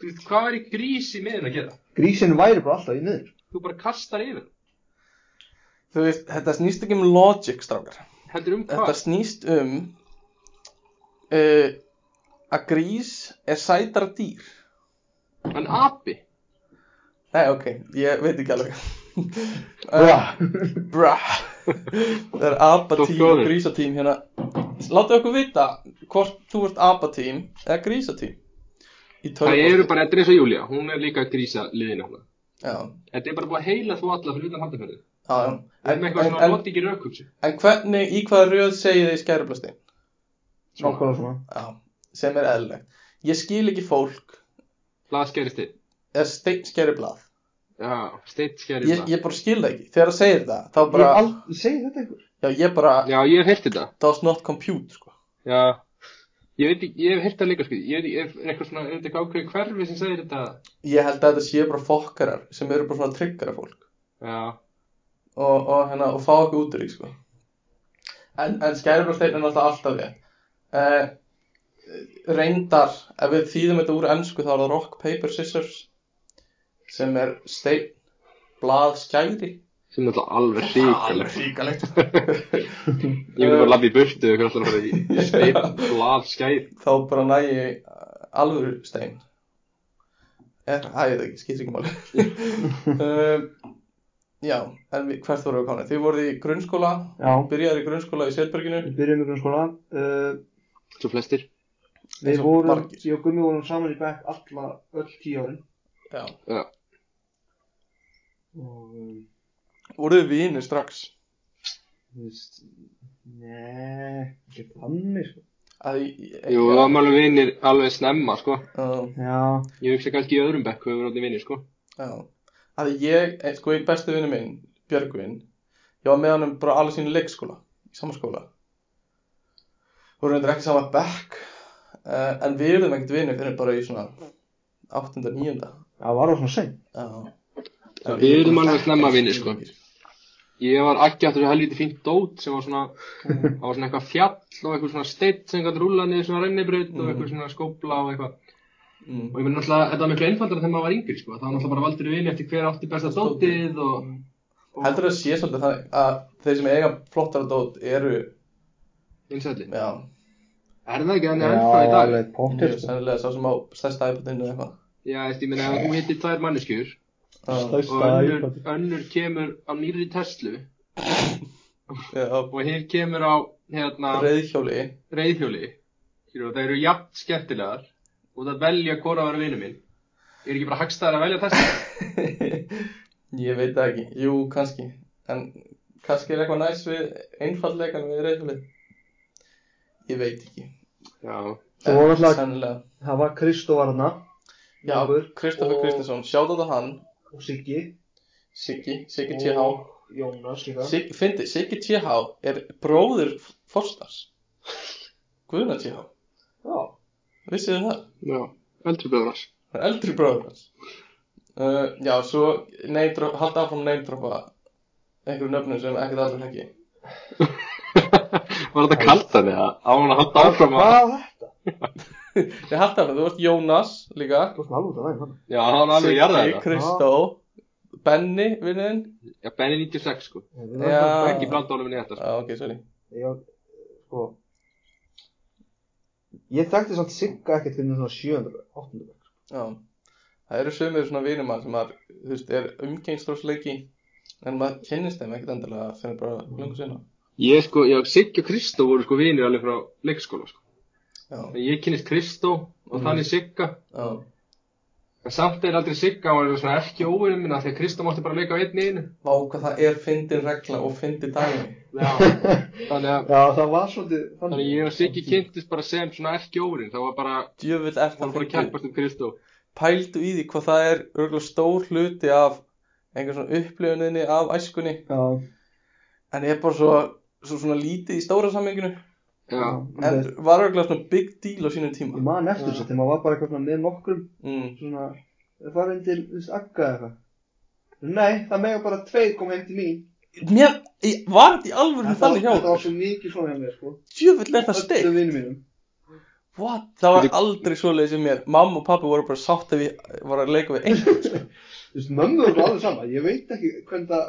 D: Þú veist, hvað er í grís í miðin að gera?
B: grísin væri bara alltaf í niður
D: Þú bara kastar yfir.
A: þú veist, þetta snýst ekki um logic strákar
D: Heldur um hvað?
A: Þetta snýst um uh, að grís er sætara dýr.
D: En api?
A: Nei, ok, ég veit ekki alveg.
B: Bra
A: uh, bra. Það er abatím
D: Stokkaður.
A: og grísatím hérna. Láttu okkur vita hvort þú ert abatím eða grísatím. Í
D: Það
A: tölvupósti.
D: eru bara, þetta er eins og Júlia, hún er líka grísa liðin hana.
A: Já,
D: Þetta er bara búið að heila þú alla fyrir utan handaferði.
A: já, já.
D: Við
A: En,
D: erum eitthvað
A: en,
D: svona
A: en,
D: noti ekki raukhugsi.
A: en hvernig, í hvaða röð segið þið í skærublasti?
D: Svona,
B: Nákvæmlega svona
A: Já, sem er eðlilegt. Ég skil ekki fólk
D: blað skerist þitt.
A: eða stein skærublað.
D: Já, steitt skerist
A: Ég,
D: það.
A: ég bara skil það ekki. Þegar það segir það, þá
B: Ég
A: bara...
B: hef aldrei segið þetta einhver
A: Já, ég bara,
D: Já, ég hef heyrt þetta.
A: does not compute, sko.
D: Já. Ég veit ekki, ég hef heyrt það líka sko, ég veit ekki, er eitthvað svona, er þetta eitthvað ákveðið hverfi sem segir þetta?
A: Ég held að þetta sé bara fokkarar sem eru bara svona tryggara fólk
D: Já.
A: og, og, hérna, og fá okkur út úr því, sko. En, en skærubröðsteinn er náttúrulega alltaf rétt. Eh, reyndar, ef við þýðum þetta úr ennsku þá er það rock, paper, scissors sem er stein, blað, skæri.
D: Sem er alltaf alveg ríkalegt.
A: hríkalegt.
D: Ég myndi bara labba í burtu og alltaf bara í stein, blað, skæð.
A: Þá bara nægi alvöru stein. Er, að ég veit ekki, skýr ekki máli. um, já, en við, hvert voru við komin? Þið voruð í grunnskóla,
B: Já,
A: byrjaður í grunnskóla í Selberginu.
B: við byrjum ykkur skóla uh,
D: Svo flestir.
A: Eins
B: Við
A: og
B: vorum,
A: margir.
B: ég og Gummi vorum saman í bekk alla, öll tíu árin
A: Já.
B: og um,
A: Voruð við vinir strax.
B: þú veist, neee, ekki þannig sko.
A: Að, ég,
D: Jú, það var alveg vinnir alveg snemma, sko.
A: já,
B: Já,
D: Ég hugsa kannski í öðrum bekk, við erum allir vinnir, sko.
A: já. að ég, eh, sko, einn besti vinnu minn, Björgvin, ég var með honum bara alveg sínu leikskóla, í sama skóla. Við vorum reyndar ekki sama bekk, uh, en við erum ekkert vinnu fyrir bara í svona 8. 9.
B: Það var það svona sein.
A: Já.
D: Við urðum alveg snemma vinir, sko. Ég var ekki aftur þessu helviti fínt dót sem var svona, það var svona eitthvað fjall og eitthvað svona steitt sem gæti rúla niður svona rennibraut og eitthvað svona skópla og eitthvað.
A: Mm.
D: Og ég meina náttúrulega, þetta var miklu einfaldara þegar maður var yngri, sko. Það var náttúrulega bara valdur við eftir hver átti besta dótið og... og
A: Heldur það sé svolítið þannig að þeir sem eiga flottara dót eru,
D: Einsællin.
A: já,
D: Er það ekki þannig ennþá í dag?
B: alveg
A: mjög
B: póttir, sko.
A: sennilega sá sem á stærsta iPadinu eða eitthvað.
D: Já, þú veist, ég meina, ef þú hittir tvær manneskjur
A: Já,
D: og
B: Stærsta
D: önnur,
B: iPad.
D: önnur kemur á nýri Tesla
A: já,
D: og hér kemur á, hérna,
A: reyðhjóli,
D: reyðhjóli skilur, það eru jafn skemmtilegar og það velja hvora að vera vinnu minn er ekki bara hagstæðar að velja þess
A: ég veit það ekki, jú, kannski, en kannski er eitthvað næs við einfaldleikan við reyðhjóli. Ég veit ekki.
D: já,
B: Svo var
A: En
B: náttúrulega-
A: Sennilega.
B: Það var Kristófar hana.
A: Já, Kristoffer Kristinsson, sjáðu þetta hann,
B: Og Siggi.
A: Siggi, Siggi TH.
B: Og Jónas líka.
A: Sig, fyndi, Siggi TH er bróður Forstars. Guðna TH,
B: Já.
A: vissið þið það?
D: já, eldri bróðurars
A: Það er eldri bróður hans. Uh, já, svo neymdropa, halda áfram neymdropa einhverju nöfnum sem ekkert allir þekki.
D: var þetta kaldan eða? á hann að halda áfram að
A: Ah.
B: Hvað?
A: Ég halda áfram, þú veist Jónas líka,
B: Þú varst alveg út af það, hann.
D: já, hann alveg jarða þetta
A: Kristó, Benni, vinniðinn.
D: já, Benny 96 sko,
A: Já.
D: ekki blanda honum inn í þetta sko.
A: Já, ok, sorry.
B: Ég, sko, ég þekkti samt Sigga ekkert fyrir svona 700, 800 bekk.
A: Já. Það eru sömur svona vinum mann sem maður, þú veist, er umgengstrósleiki, en maður kynnist þeim ekkert endilega fyrir bara lengur sinna.
D: ég sko, já, Siggi og Kristó voru sko vinir alveg frá leikskóla sko. Mm.
A: Já,
D: ég kynist Kristó og
A: Mhm.
D: þannig Sigga
A: já,
D: en samt er aldrei Sigga, hann var svona ekki óvinnum minna því að Kristó mátti bara leika á einni einu
A: vá hvað það er fyndin regla og fyndin dæmi.
D: þannig að
B: Já, það var svolítið
D: Þannig ég og Siggi kynntist bara sem svona ekki órin, það var bara,
A: Djöfull er
D: það var
A: það
D: bara að keppast um Kristó.
A: pældu í því hvað það er örgulega stór hluti af einhver svona upplifuninni af æskunni
B: Já,
A: en er bara svo, svo svona lítið í stóra samminginu
D: Já,
A: en
B: en,
A: var örgulega svona big deal á sínum tíma
B: ég man eftir þessu þegar maður var bara eitthvað svona með nokkrum
A: mm.
B: svona, það var undir, þú veist, agga eða eitthvað. Nei, það mega bara tveir kom heim til mín.
A: Mér, ég, var þetta í alvöru
B: Þetta var-
A: þannig hjá
B: Þetta var
A: okkur?
B: svo mikið svona hjá mér, sko.
A: Djöfull er það steik
B: Öllum vinum mínum.
A: What? Það var
D: Þetta-
A: aldrei svoleiðis sem mér Mamma og pappi voru bara sátt ef ég var að leika við einhvern sko.
B: Þú veist, mömmu var alveg sama, ég veit ekki hvernig það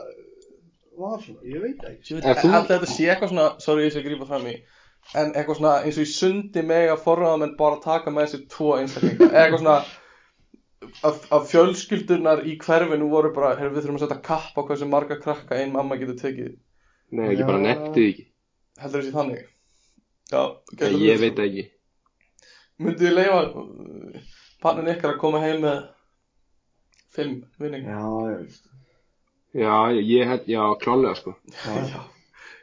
B: var svona, ég veit það ekki.
A: Djöfull,
D: En þú-
A: Alltaf þetta sé eitthvað svona Sorry, ég sé að grípa fram í En eitthvað svona eins og í sundi mega forraðamenn bara taka með sér tvo einstaklinga Eða Eitthvað svona að, að fjölskyldunar í hverfinu voru bara heyrðu, Við þurfum að setja kapp á hversu marga krakka einn mamma getur tekið
D: nei, ég bara
B: Já.
D: nefndi því ekki,
A: Heldur þessi þannig Já,
D: ég, ég veit það ekki.
A: Myndið ég leifa pannin ykkar að koma heim með Fimm vinninga
B: Já, ég veist.
D: Já, ég- ég held, já, klálega sko.
A: Já,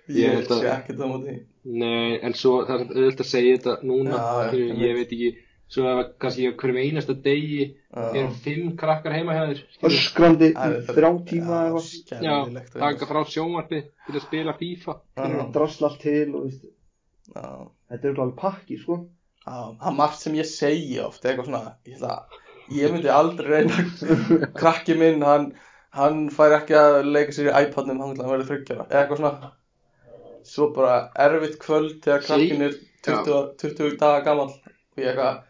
D: Ég
A: ég
D: held að-
A: sé ekkert á móti því.
D: Nei, en svo það er samt auðvitað að segja þetta núna,
A: Já, já,
D: skilur,
A: ég
D: ég, veit ekki, svo ef að kannski ég á hverjum einasta degi
A: Já.
D: er fimm krakkar heima hjá þér, skilur.
B: Öskrandi, í
A: Það er-
B: þrjá tíma
A: Já,
B: eða eitthvað.
D: Já,
A: skelfilegt
D: taka frá sjónvarpið til að spila FIFA.
A: Já,
B: drasla allt til og veist,
A: já.
B: þetta er alveg pakki sko
A: Já, það er margt sem ég segi oft, eitthvað svona, ég, það, ég myndi aldrei reyna, krakki minn, hann, hann fær ekki að leika sér í iPadnum, hann vil að verða þryggjara, eitthvað svona, svo bara erfitt kvöld þegar krakkin er 20, 20 daga gammal, og ég eitthvað,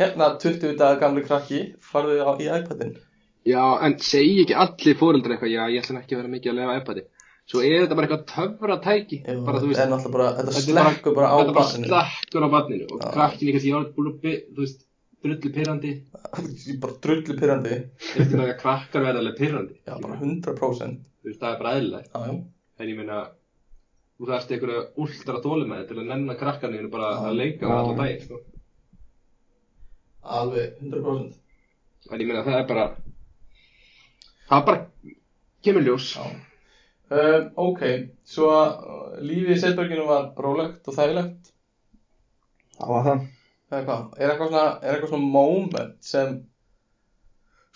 A: hérna 20 daga gamli krakki, farðu á, í iPadin,
D: Já, en segja ekki allir fóröldra eitthvað, já, ég ætla nú ekki að vera mikið að lefa iPadi. Svo er þetta bara eitthvað töfra tæki,
A: en
D: bara þú veist,
A: alltaf bara, þetta
D: Þetta er bara-
A: slekkur bara á
D: þetta er bara
A: barninu,
D: slakkur á barninu og
A: Já.
D: krakkin kannski ég var blubbi, þú veist, drullu pyrrandi
A: Ég er bara drullu pyrrandi,
D: eftir að krakkar verða alveg pyrrandi
A: já, bara 100%,
D: þú veist, það er bara eðlilegt
A: já, já.
D: en ég meina, þú þarft einhverja últra þólumæði til að nennan krakkarnir bara
A: Já.
D: að leika
B: Já.
D: á alla daginn, sko
A: Alveg, 100%
D: en ég meina, það er bara það bara kemur ljós
A: Já. Um, ok, svo uh, lífið í Setberginu var rólegt og þægilegt
B: það var það
A: eða hvað, er eitthvað svona, er eitthvað svona moment sem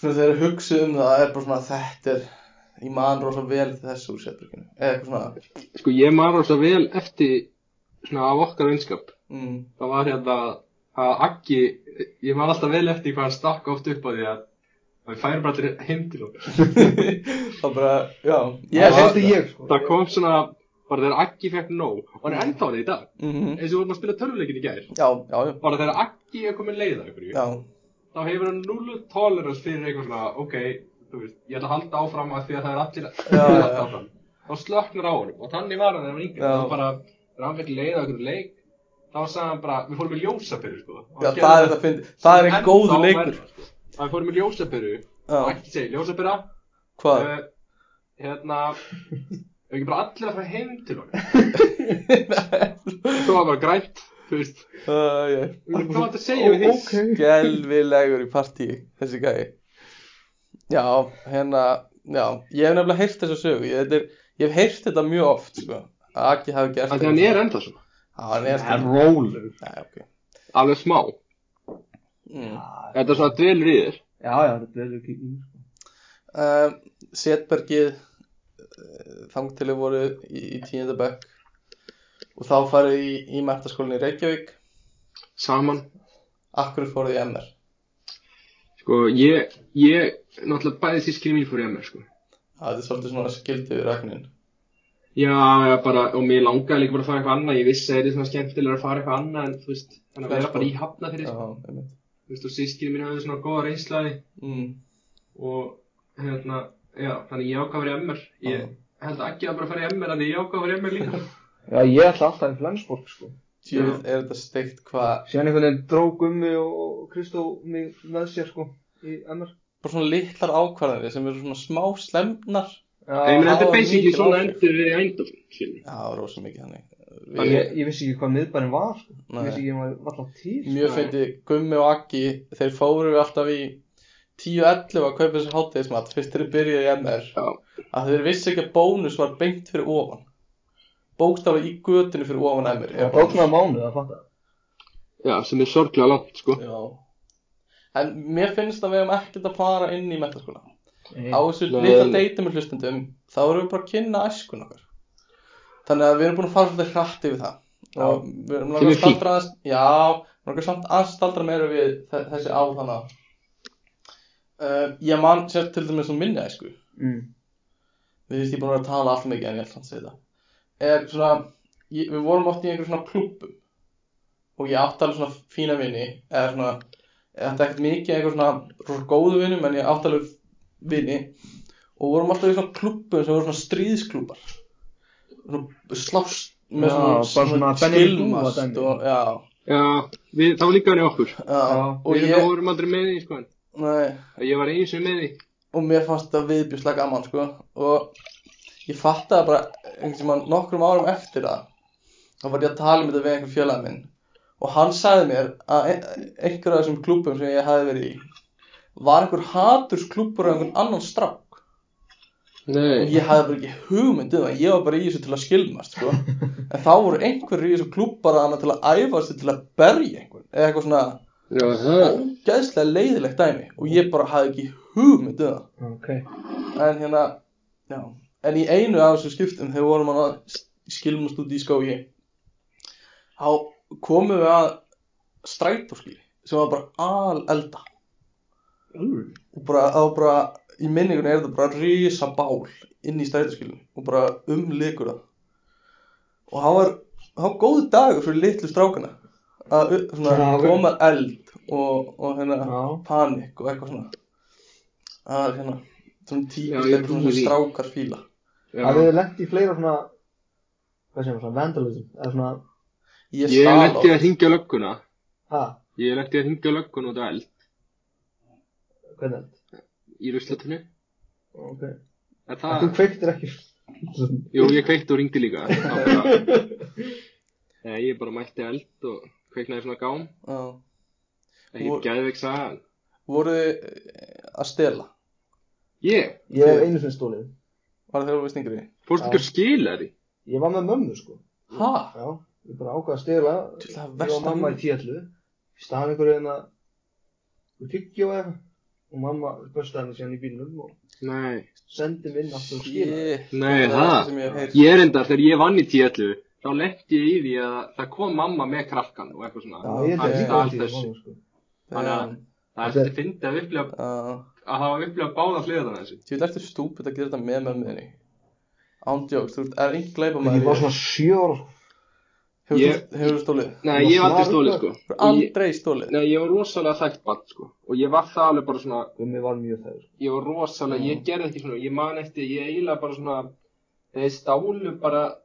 A: svona þegar ég hugsa um það er bara svona þetta er ég man rosa vel þessu úr setbrukkinu eða eitthvað svona
D: Sko ég man rosa vel eftir svona af okkar vinskap.
A: mm,
D: Það var hérna að Aggi, ég man alltaf vel eftir hvað hann stakk oft upp á því að að við færum bara allir heim til okkur.
A: það bara, já
B: Það
A: hef-
B: reyndi ég, sko.
D: Það kom svona, bara þegar Aggi fekk nóg og hann er ennþá á því í dag.
A: Mhm.
D: Eins og við vorum að spila tölvuleikin í gær.
A: já, já, já,
D: Bara þegar Aggi er komin leið af ykkur,
A: já
D: þá hefur hann null tolerance fyrir eitthvað svona, ok, þú veist, ég ætla að halda áfram að því að það er
A: Já,
D: allir að
A: já, já.
D: halda áfram. Þá slöknar á honum og þannig var hann þegar hann var yngri.
A: Já.
D: Þá bara, þegar hann fekk leið á einhverju leik, þá sagði hann bara, við fórum í ljósaperu, sko. Og
A: Já,
D: hann gerði
A: það er þetta fyndi, það er einn
D: ennþá
A: góðu leikur
D: verra, sko. Það við fórum í ljósaperu,
A: Já,
D: ekki segi, ljósapera,
A: hvað?
D: uh, hérna, ef ekki bara allir að fara heim til honum. Svo var bara grænt, þú veist,
A: Það er
D: bara, hvað þetta segja við því?
B: Ok.
A: skelvilegur í partí þessi gæi Já, hérna, já Ég hef nefnilega heyrt þessa sögu Ég, þetta er, ég hef heyrt þetta mjög oft, sko að Aki hafi gert
D: Þannig að hann er ennþá svona,
A: Já, hann er
B: Það er rólegur.
A: Já, ok
D: alveg smá.
A: mm.
D: Þetta er svona dvelur í þér.
B: Já, já, þetta er ekki í, sko.
A: uh, Setbergið þang til þau voru í, í tíundabökk og þá farið í, í mentaskólinni í Reykjavík
D: Saman,
A: Akkur fóruð í MR
D: Sko, ég, ég, náttúrulega bæði sískinni mín fór í MR, sko.
A: Það er svolítið svona skildið við ræknin
D: Já, já, bara, og mér langaði líka bara að fara eitthvað annað, ég vissi að það er svona skemmtilega að fara eitthvað annað, en þú veist, þannig að vera bara í hafna fyrir,
A: Já,
D: sko.
A: einmitt
D: Þú veist, og sískinni mín höfðu svona góða reynslaði
A: mm.
D: og, hérna, já, þannig ég ákvað að fara í MR. Ég held ekki að bara fara í MR, en ég ákvað að fara í MR líka.
B: Já, ég ætla alltaf í Flensborg, sko.
A: Tjöfull er þetta steikt hvað
B: Síðan einhvern veginn dró Gummi og Kristó mig með sér, sko, í MR.
A: bara svona litlar ákvarðanir sem eru svona smá slemnar
D: Ég meina, þetta
A: það
D: er
A: var
D: basically
A: mikil
D: svona
A: áhrif.
D: endur við í ændum, skilji.
A: Já, rosa mikið þannig
D: Þannig-
A: Við,
B: Ég, ég vissi ekki hvað miðbærin var, sko.
A: Nei.
B: Ég vissi ekki hvað var alltaf til. sko.
A: Mjög
D: Nei.
A: fyndið, Gummi og Aggi þeir fóru alltaf í 10-11 að kaupa þessi hátíðismat fyrst þeir byrjuðu í MR
D: Já.
A: að þeir vissi ekki að bónus var beint fyrir ofan bókstaflega í götinu fyrir ofan MR er bónus.
B: Ógnar mánuð að fatta.
D: Já, sem er sorglega langt, sko.
A: Já. En mér finnst að við hefum ekkert að fara inn í metaskóla á
B: Á,
A: þessu
D: Nei,
A: litla
D: nei.
A: deyti með hlustendum þá erum við bara að kynna æskun okkar þannig að við erum búin að fara svolítið hratt yfir það og við erum
D: Sem
A: langar
D: er
A: að staldra aðeins já, við erum samt að staldra meira við þe- þessi á þannig að uh, ég man sér til dæmis um minni æsku
B: mm.
A: við finnst ég búin að vera að tala allt mikið en ég ætla að segja það er svona, ég, við vorum oft í einhverjum svona klúbbum og ég átti alveg svona fína vini eða svona, þetta er ekkert mikið einhver svona rosa góðu vinum en ég átti alveg vini og vorum alltaf í svona klúbbum sem voru svona stríðsklúbbar svona slást með
B: Já,
A: svona,
B: bara svona Benny Dúa
A: skilmast
B: dæmi.
A: og, já,
D: Já, við, það var líka hann í okkur.
A: já, og
D: Við ég...
A: ég
D: vorum aldrei með því, sko, en
A: nei,
D: ég var einu sem með því.
A: og mér fannst þetta viðbjúslega gaman sko og ég fattaði bara einhvern tímann nokkrum árum eftir það þá var ég að tala um þetta við einhver fjölaði minn og hann sagði mér að einhver af þessum klúbum sem ég hafi verið í var einhver hatursklúbur af einhvern annan strák
D: Nei.
A: og ég hafi bara ekki hugmynd um það ég var bara í þessu til að skilmast sko en þá voru einhverjir í þessu klúb bara annað til að æfa sig til að berja einhvern eða eitthvað svona
D: Já, það.
A: ógeðslega leiðilegt dæmi og ég bara hafi ekki hugmynd um það
B: ok.
A: en hérna já. en í einu af þessum skiptum þegar vorum hann að skilmast út í skói þá komum við að strætóskili sem var bara al elda
B: Úlfur.
A: og bara, það var bara í minningunni er þetta bara risa bál inn í strætóskilinu og bara umlikur það og það var það var góðu dagur fyrir litlu strákana að u- svona,
B: Já, ok.
A: koma eld og, og hérna
B: Já.
A: panik og eitthvað svona það er hérna svona
D: Já,
A: típist
D: ég
A: eitthvað
D: trúi
A: svona
D: því.
A: strákar fíla
B: Það hefur lengt í fleira svona, hvað sem er svona, vandalism, eða svona,
A: ég
D: Ég
A: stál
D: lendi
A: á
D: að hringja lögguna
B: ha,
D: Ég lendi að hringja lögguna út af eld
B: hvernig held?
D: í ruslatunni
B: Ok.
D: En
B: Ah. Þú
D: það,
B: kveiktir ekki.
D: jú ég kveikti og ringdi líka Það bara- Nei, ég bara mætti eld og kveiknaði svona gám
A: Já.
D: Ég
A: Og-
D: og... gæði ekki sagði hann
A: voru eh, þið að stela
D: Ég,
B: Ég hef einu sinni stólið.
A: var það þegar þú veist yngri
D: fórstu
B: Já.
D: ekki að skila því
B: Ég var með mömmu, sko.
A: ha?
B: Já. Ég bara ákvað að stela.
A: Til það
B: Ég og
A: versta
B: mamma í
A: minni.
B: hérna, tíallu. Staðan einhverju en að, við tyggjóði eitthvað. og mamma börstaði hann síðan í bílnum og
D: Nei,
B: sendi minn aftur og skilaði
A: Shit, það
D: Nei,
A: er
D: það.
A: það sem ég hef heyrt.
D: ég er enda þegar ég vann í tíallu þá lendi ég í því að það kom mamma með krakkan og eitthvað svona
B: Já, ég held
A: Hann
B: að líka
D: stal
B: að því að
D: þessu.
B: mamma sko
D: Þannig að það
B: Þetta
D: er
B: er-
D: fyndið að upplega
A: Já.
D: að hafa upplega báða hliðan þessu
A: Þú ert eftir stúpid að gera þetta með mömmuðinni Ándjóks, þú ert- er engin gleipa
B: Ég var
A: maður
B: svona sjö ára sko.
A: Hefur
D: Ég-
A: þú- hefur þú stólið?
D: Nei, ég hef aldrei stólið sko
A: Þú er
D: Ég-
A: Aldrei stólið
D: Nei, ég var rosalega þægt bann sko og ég var það alveg bara svona
B: Gummi var mjög þegar sko.
D: ég var rosalega,
A: Mm.
D: ég gerði ekki svona ég man eftir, ég eiginlega bara svona þeir stálu bara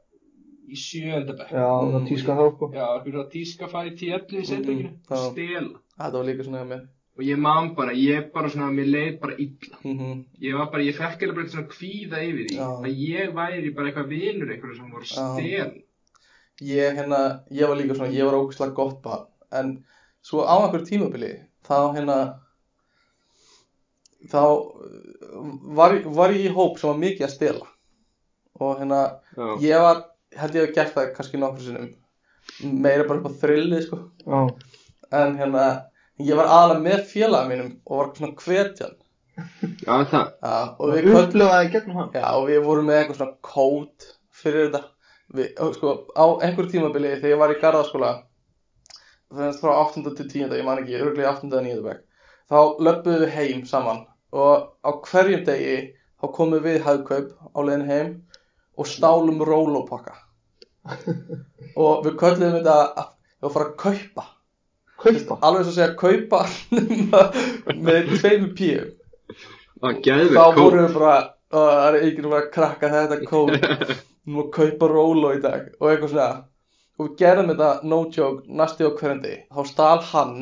D: í sjönda bekk
B: Já, það
A: Mm.
B: tíska það sko
D: Já, það byrjaði að tíska fæði tíallu í setninginu
A: Mm,
D: og
A: já.
D: stela
A: Þetta var líka svona hjá mér
D: og ég man bara, ég bara svona, mér leið bara illa
A: Mhm.
D: ég var bara, ég fekk alveg bara svona kvíða yfir því
A: Já.
D: að ég væri bara eitthvað vinur einhverju sem voru
A: Já.
D: stel
A: Ég, hérna, ég var líka svona, ég var ógustlega gott barn En svo á einhver tímabili Þá hérna Þá uh, var, var ég í hóp sem var mikið að stela Og hérna
D: Já,
A: Ég var, held ég hef gert það kannski nokkur sinnum Meira bara upp á þrillið sko
B: Já,
A: en hérna ég var aðalega með félaga mínum og var svona hvetjan
D: já það
A: ja, og, við
B: og
A: köll,
B: upplifaði gegnum hann
A: já, og við vorum með eitthvað svona kód fyrir þetta við, og sko, á einhver tímabili þegar ég var í garðaskóla þannig frá 8. til 10. ég man ekki, örglega 8. að 9. bekk þá löpum við heim saman og á hverjum degi þá komum við hafðkaup á leiðin heim og stálum rólópakka og við köllum þetta að við varum að fara að kaupa
B: Kaupa
A: alveg svo að segja kaupa nema með tveimur píum
D: var geðveikt
A: þá
D: kók.
A: voru við bara "Ó, það er einhvern veginn að krakka þetta kóð nú að kaupa rólo í dag og eitthvað svona og við gerðum þetta no joke næstu á hverjum degi þá stal hann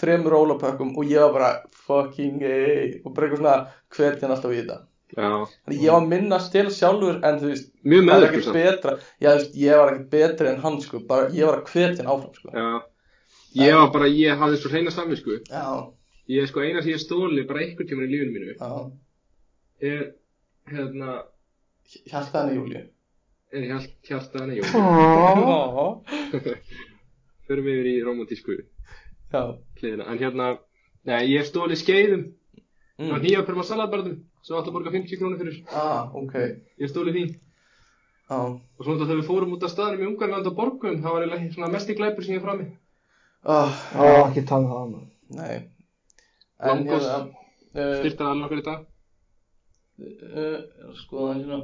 A: þrem rólopökkum og ég var bara fucking ey og bara eitthvað svona hvernig alltaf í þetta
D: Já,
A: þannig ég var minna að stela sjálfur en þú veist
D: mjög
A: það er
D: meðvirkur
A: ekkert
D: samt.
A: betra já, þú veist, ég var ekkert betri en hann sko bara ég var að hvernig áfram sko
D: Já, ég var bara, ég hafði svo hreina samvisku
A: já,
D: Ég sko eina sem ég stóli bara einhvern tímann í lífinu mínu
A: já,
D: er hérna
A: hjartaðan í júli
D: er hjalt, hjartaðan í jól
B: Á.
D: Förum yfir í romantísku
A: já
D: hliðina En hérna, nei, ég stóli skeiðum mm. og
A: mm.
D: nýja perma salatbarðum svo átti að borga 50 krónir fyrir
A: ah, ok
D: Ég stóli því
A: ah.
D: og svona þegar við fórum út af staðanum í Ungarland og borgum það var eiginlega svona mesti glæpur sem ég frami
A: Ah,
B: Já, ekki tala um það maður.
A: nei en
D: Langos.
A: hérna uh,
D: Styrta alveg okkur í dag
A: uh, skoða hann hérna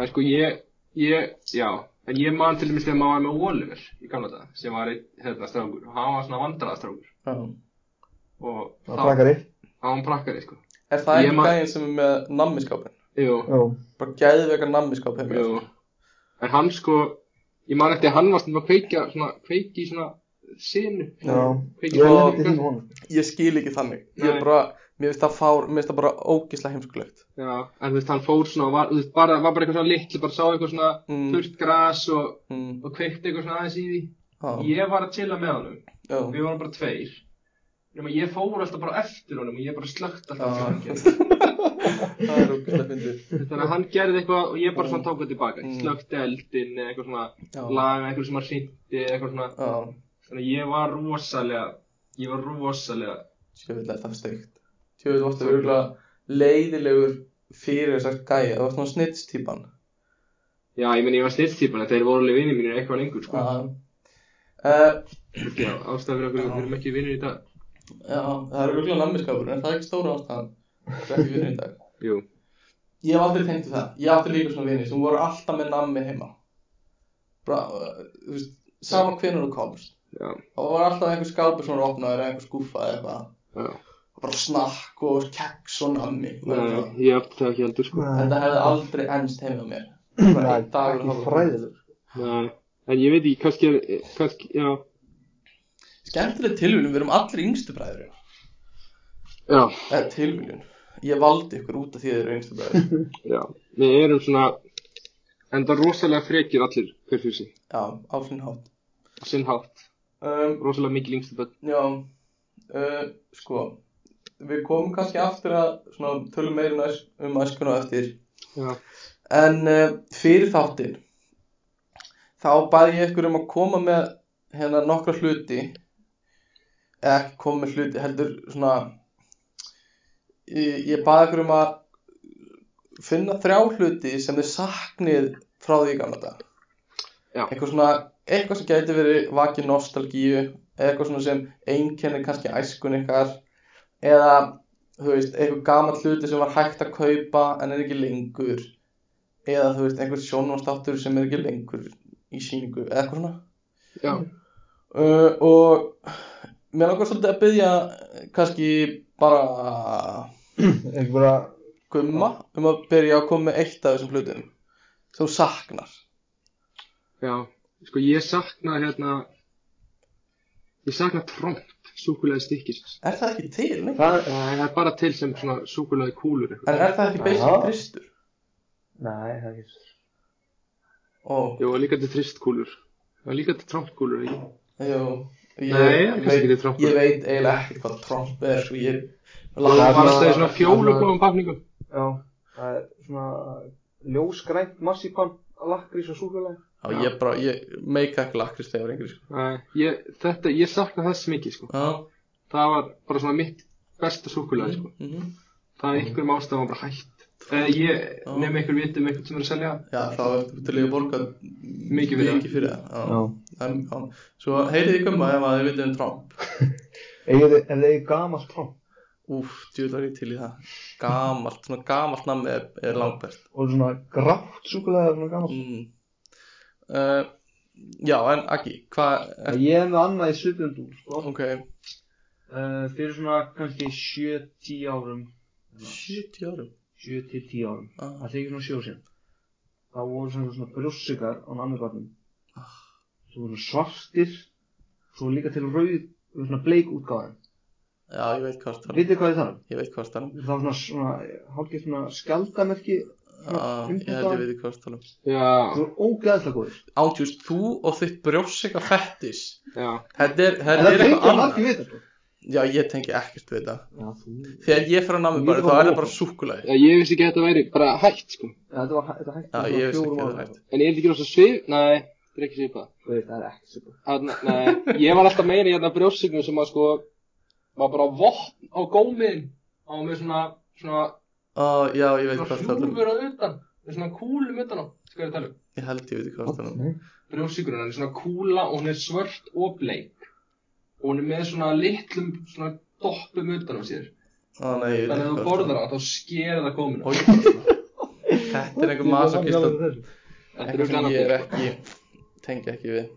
D: En sko ég, ég, já En ég man til dæmis þegar maður var með Oliver í gamla daga sem var einn, hérna, strákur og hann var svona vandræðastrákur
A: ah.
D: og
B: Það var brakari
D: hann var prakkari, sko
A: er það
D: Ég
A: ekki
D: man-
A: gæðin sem er með nammiskápin
D: Jú,
B: Já,
A: bara gæðveika nammiskáp hérna. Mm. hefur
D: jú En hann sko, ég man eftir að hann var stundum að kveikja, svona, kveiki í svona sinu
B: já Ég
D: Kveiki
B: er
A: Já.
B: ekki til honum
A: ég skil ekki þannig ég
D: Nei.
A: er bara mér finnst það fár mér finnst það bara ógislega heimskulegt
D: Já, en þú veist, hann fór svona og var, þú veist, bara, var bara eitthvað svona litli, bara sá eitthvað svona
A: Mm.
D: þurrt gras og,
A: mm.
D: og kveikti eitthvað svona aðeins í því
A: ah.
D: Ég var að chilla með honum
A: já
D: Við vorum bara tveir Nefnum ég fór alltaf bara eftir honum og ég bara slögt alltaf
A: Já.
D: á flaggið.
A: það er ógislega fyndið
D: Þannig að hann gerði eitthvað og ég bara svona tók það tilbaka
A: Mm.
D: Slögt eldinn eða eitthvað svona
A: Já.
D: Laga eitthvað sem hann sýndi eða eitthvað svona
A: ah.
D: Þannig að ég var rosalega Ég var rosalega
A: Sjöfell er það steikt Sjöfell varstu örgulega leiðilegur fyrir þessar gæja Það var svona snitstýpan
D: Já, ég meni ég var snitstýpan Þeir voru alveg vinir mínir eitthvað lengur sko
A: uh, Já,
D: Já, ástæða fyrir okkur
A: Já.
D: við erum ekki vinir í dag
A: Mm. það er örgulega nammiskapur En það er ekki stóra ástæðan Það er ekki vinur í dag
D: Jú
A: Ég hef aldrei tengt við það Ég átti líka svona vinir sem voru alltaf með nammi heima Bra, uh, þú veist Sama hvenær þú komst
D: Já,
A: Það var alltaf einhver skápur sem var opnaður eða einhver skúfa eða eitthvað
D: já
A: Bara snakk og keks og nammi og
D: Nei,
A: eitthvað.
D: ég átti það ekki heldur sko
B: Nei,
A: Þetta hefði aldrei ennst heima mér
B: nei,
A: Bara einn dagur
B: ekki
A: og hálfur.
B: fræðileg
D: Nei, en ég veit ekki, kannski er, eh, kannski, já
A: Skemmtileg tilvílun, við erum allir yngstu bræður
D: Já,
A: Eða tilvílun Ég valdi ykkur út af því að þið eru yngstu bræður
D: já Við erum svona Enda rosalega frekir allir hver fyrir sig
A: Já, á sinn hátt
D: Á Sinn hátt
A: um,
D: Rosalega mikið lengstu bönn
A: Já, uh, sko Við komum kannski aftur að svona, tölum meira um æs- um æskuna á eftir
D: Já
A: En uh, fyrir þáttinn Þá bæði ég ykkur um að koma með hérna nokkra hluti eða ekki koma með hluti heldur svona ég, ég baði ykkur um að finna þrjá hluti sem þið saknið frá því í gamla dag
D: Já.
A: eitthvað svona, eitthvað sem gæti verið vakið nostalgíu eða eitthvað svona sem einkennir kannski æskun ykkar eða þú veist, eitthvað gamall hluti sem var hægt að kaupa en er ekki lengur eða þú veist, einhver sjónvastáttur sem er ekki lengur í síningu eða eitthvað svona
D: Já.
A: uh, og mér langar svolítið að byggja kannski bara
B: Ekki bara
A: Gumma um að byrja að koma með eitt af þessum hlutum sem þú saknar
D: Já, sko ég sakna hérna, ég sakna tromp, súkulæði stikkis.
A: Er það ekki til? Nei?
B: Það
D: Eh, Það er bara til sem svona súkulæði kúlur eitthvað.
A: En er það ekki basic
B: Já.
A: tristur?
B: Nei, það er ekki
A: Ó,
D: Jó, líka til tristkúlur. Já, líka til trompkúlur, ekki?
A: jú Ég,
D: Nei,
A: ég,
D: það er ekki til
A: veit,
D: trompur.
A: ég veit eiginlega ekkert hvað tromp er og ég
D: Það
B: Það
D: er
B: er
D: bara
B: svona-
D: stöðið svona fjólubláum pakningum.
B: Já, það er svona ljósgrænt massípan lakrís og súkulega
A: Já, ég bara, ég meika ekki lakrist þegar yngri sko.
D: Nei, Eh, ég, þetta, ég sakna þess mikið, sko.
A: Já,
D: Það var bara svona mitt besta súkulæði, sko.
A: mm
D: Það er einhverjum ástæðum bara hægt. Eða ég, nefnum einhver vitum einhvern sem er að selja það.
A: já þá ertu til í að borga
D: Mikið fyrir það.
A: mikið fyrir það Já, það er mjög gaman Svo heyrið í gumma ef að þið vitið um tromp
B: Eða það er gamalt tromp
A: Úf, djúlar ég til í það Gamalt, svona gamalt nammi er, er langbært
B: og svona grátt súkulega svona gamalt
A: mm. uh, Já, en Aggi, hvað er,
B: Ég hef með annað í svipjöndu sko.
A: Ok,
B: uh, Fyrir svona kannski 7-10 árum
A: 70 árum
B: 7-10 árum
A: ah.
B: Það þykir nú sjó sér Það voru svona, svona brjóssikar á nammibarnum
A: Ah.
B: Svo voru svartir Svo voru líka til rauð Svona bleik útgáðan
A: Ah. Já, ég veit hvað það er um.
B: Vitið hvað ég þarf?
A: Ég veit hvað það er um.
B: Það var svona, svona hálfgeir svona skjaldamerki
A: Já, Ah, ég held ég veit hvað það er
B: Það
D: Já,
B: voru ógeðslega góðir
A: Ántjúst, þú og þitt brjósika fettis
D: já.
A: Þetta er,
B: En
A: þetta er
B: það tengja
A: eitthvað
B: margir
A: annað
B: við þetta
A: Já, ég tengi ekkert við það
B: Já, þú
A: Þegar ég fer að námi bara, þá er
B: Líka bara
A: það bara súkulæði
D: Já, Ég vissi ekki að þetta væri bara hægt, sko.
B: Þetta var hæ- þetta hætti
A: Já, ég veist ekki að það er hægt
D: En ég er þetta ekki rosa svif, nei, þetta er ekki svipað.
B: Þú veist, það er ekki super
D: Þarna, nei, ég var alltaf meira í hérna brjósingum sem að sko, var bara vopn á gómiðin á með svona, svona,
A: Ó, Já, ég veit
D: svona
A: hvað það er
D: hljúfur á utan, með svona kúlum utan á, sko ég er að tala um,
A: Ég held ég veit hvað það er
D: brjósingurinn, hann er svona kúla og hún er svört og bleik og hún er með svona litlum, svona doppum utan á sér,
A: Ó, nei, ég veit
D: þannig að
A: ekki
D: þú
A: hvað það
D: borðar það, þá sker það góminu,
A: er Þetta er einhver masokist að
D: þetta
A: eitthvað
D: eru
A: sem ég er
D: gannandi,
A: ekki tengi ekki við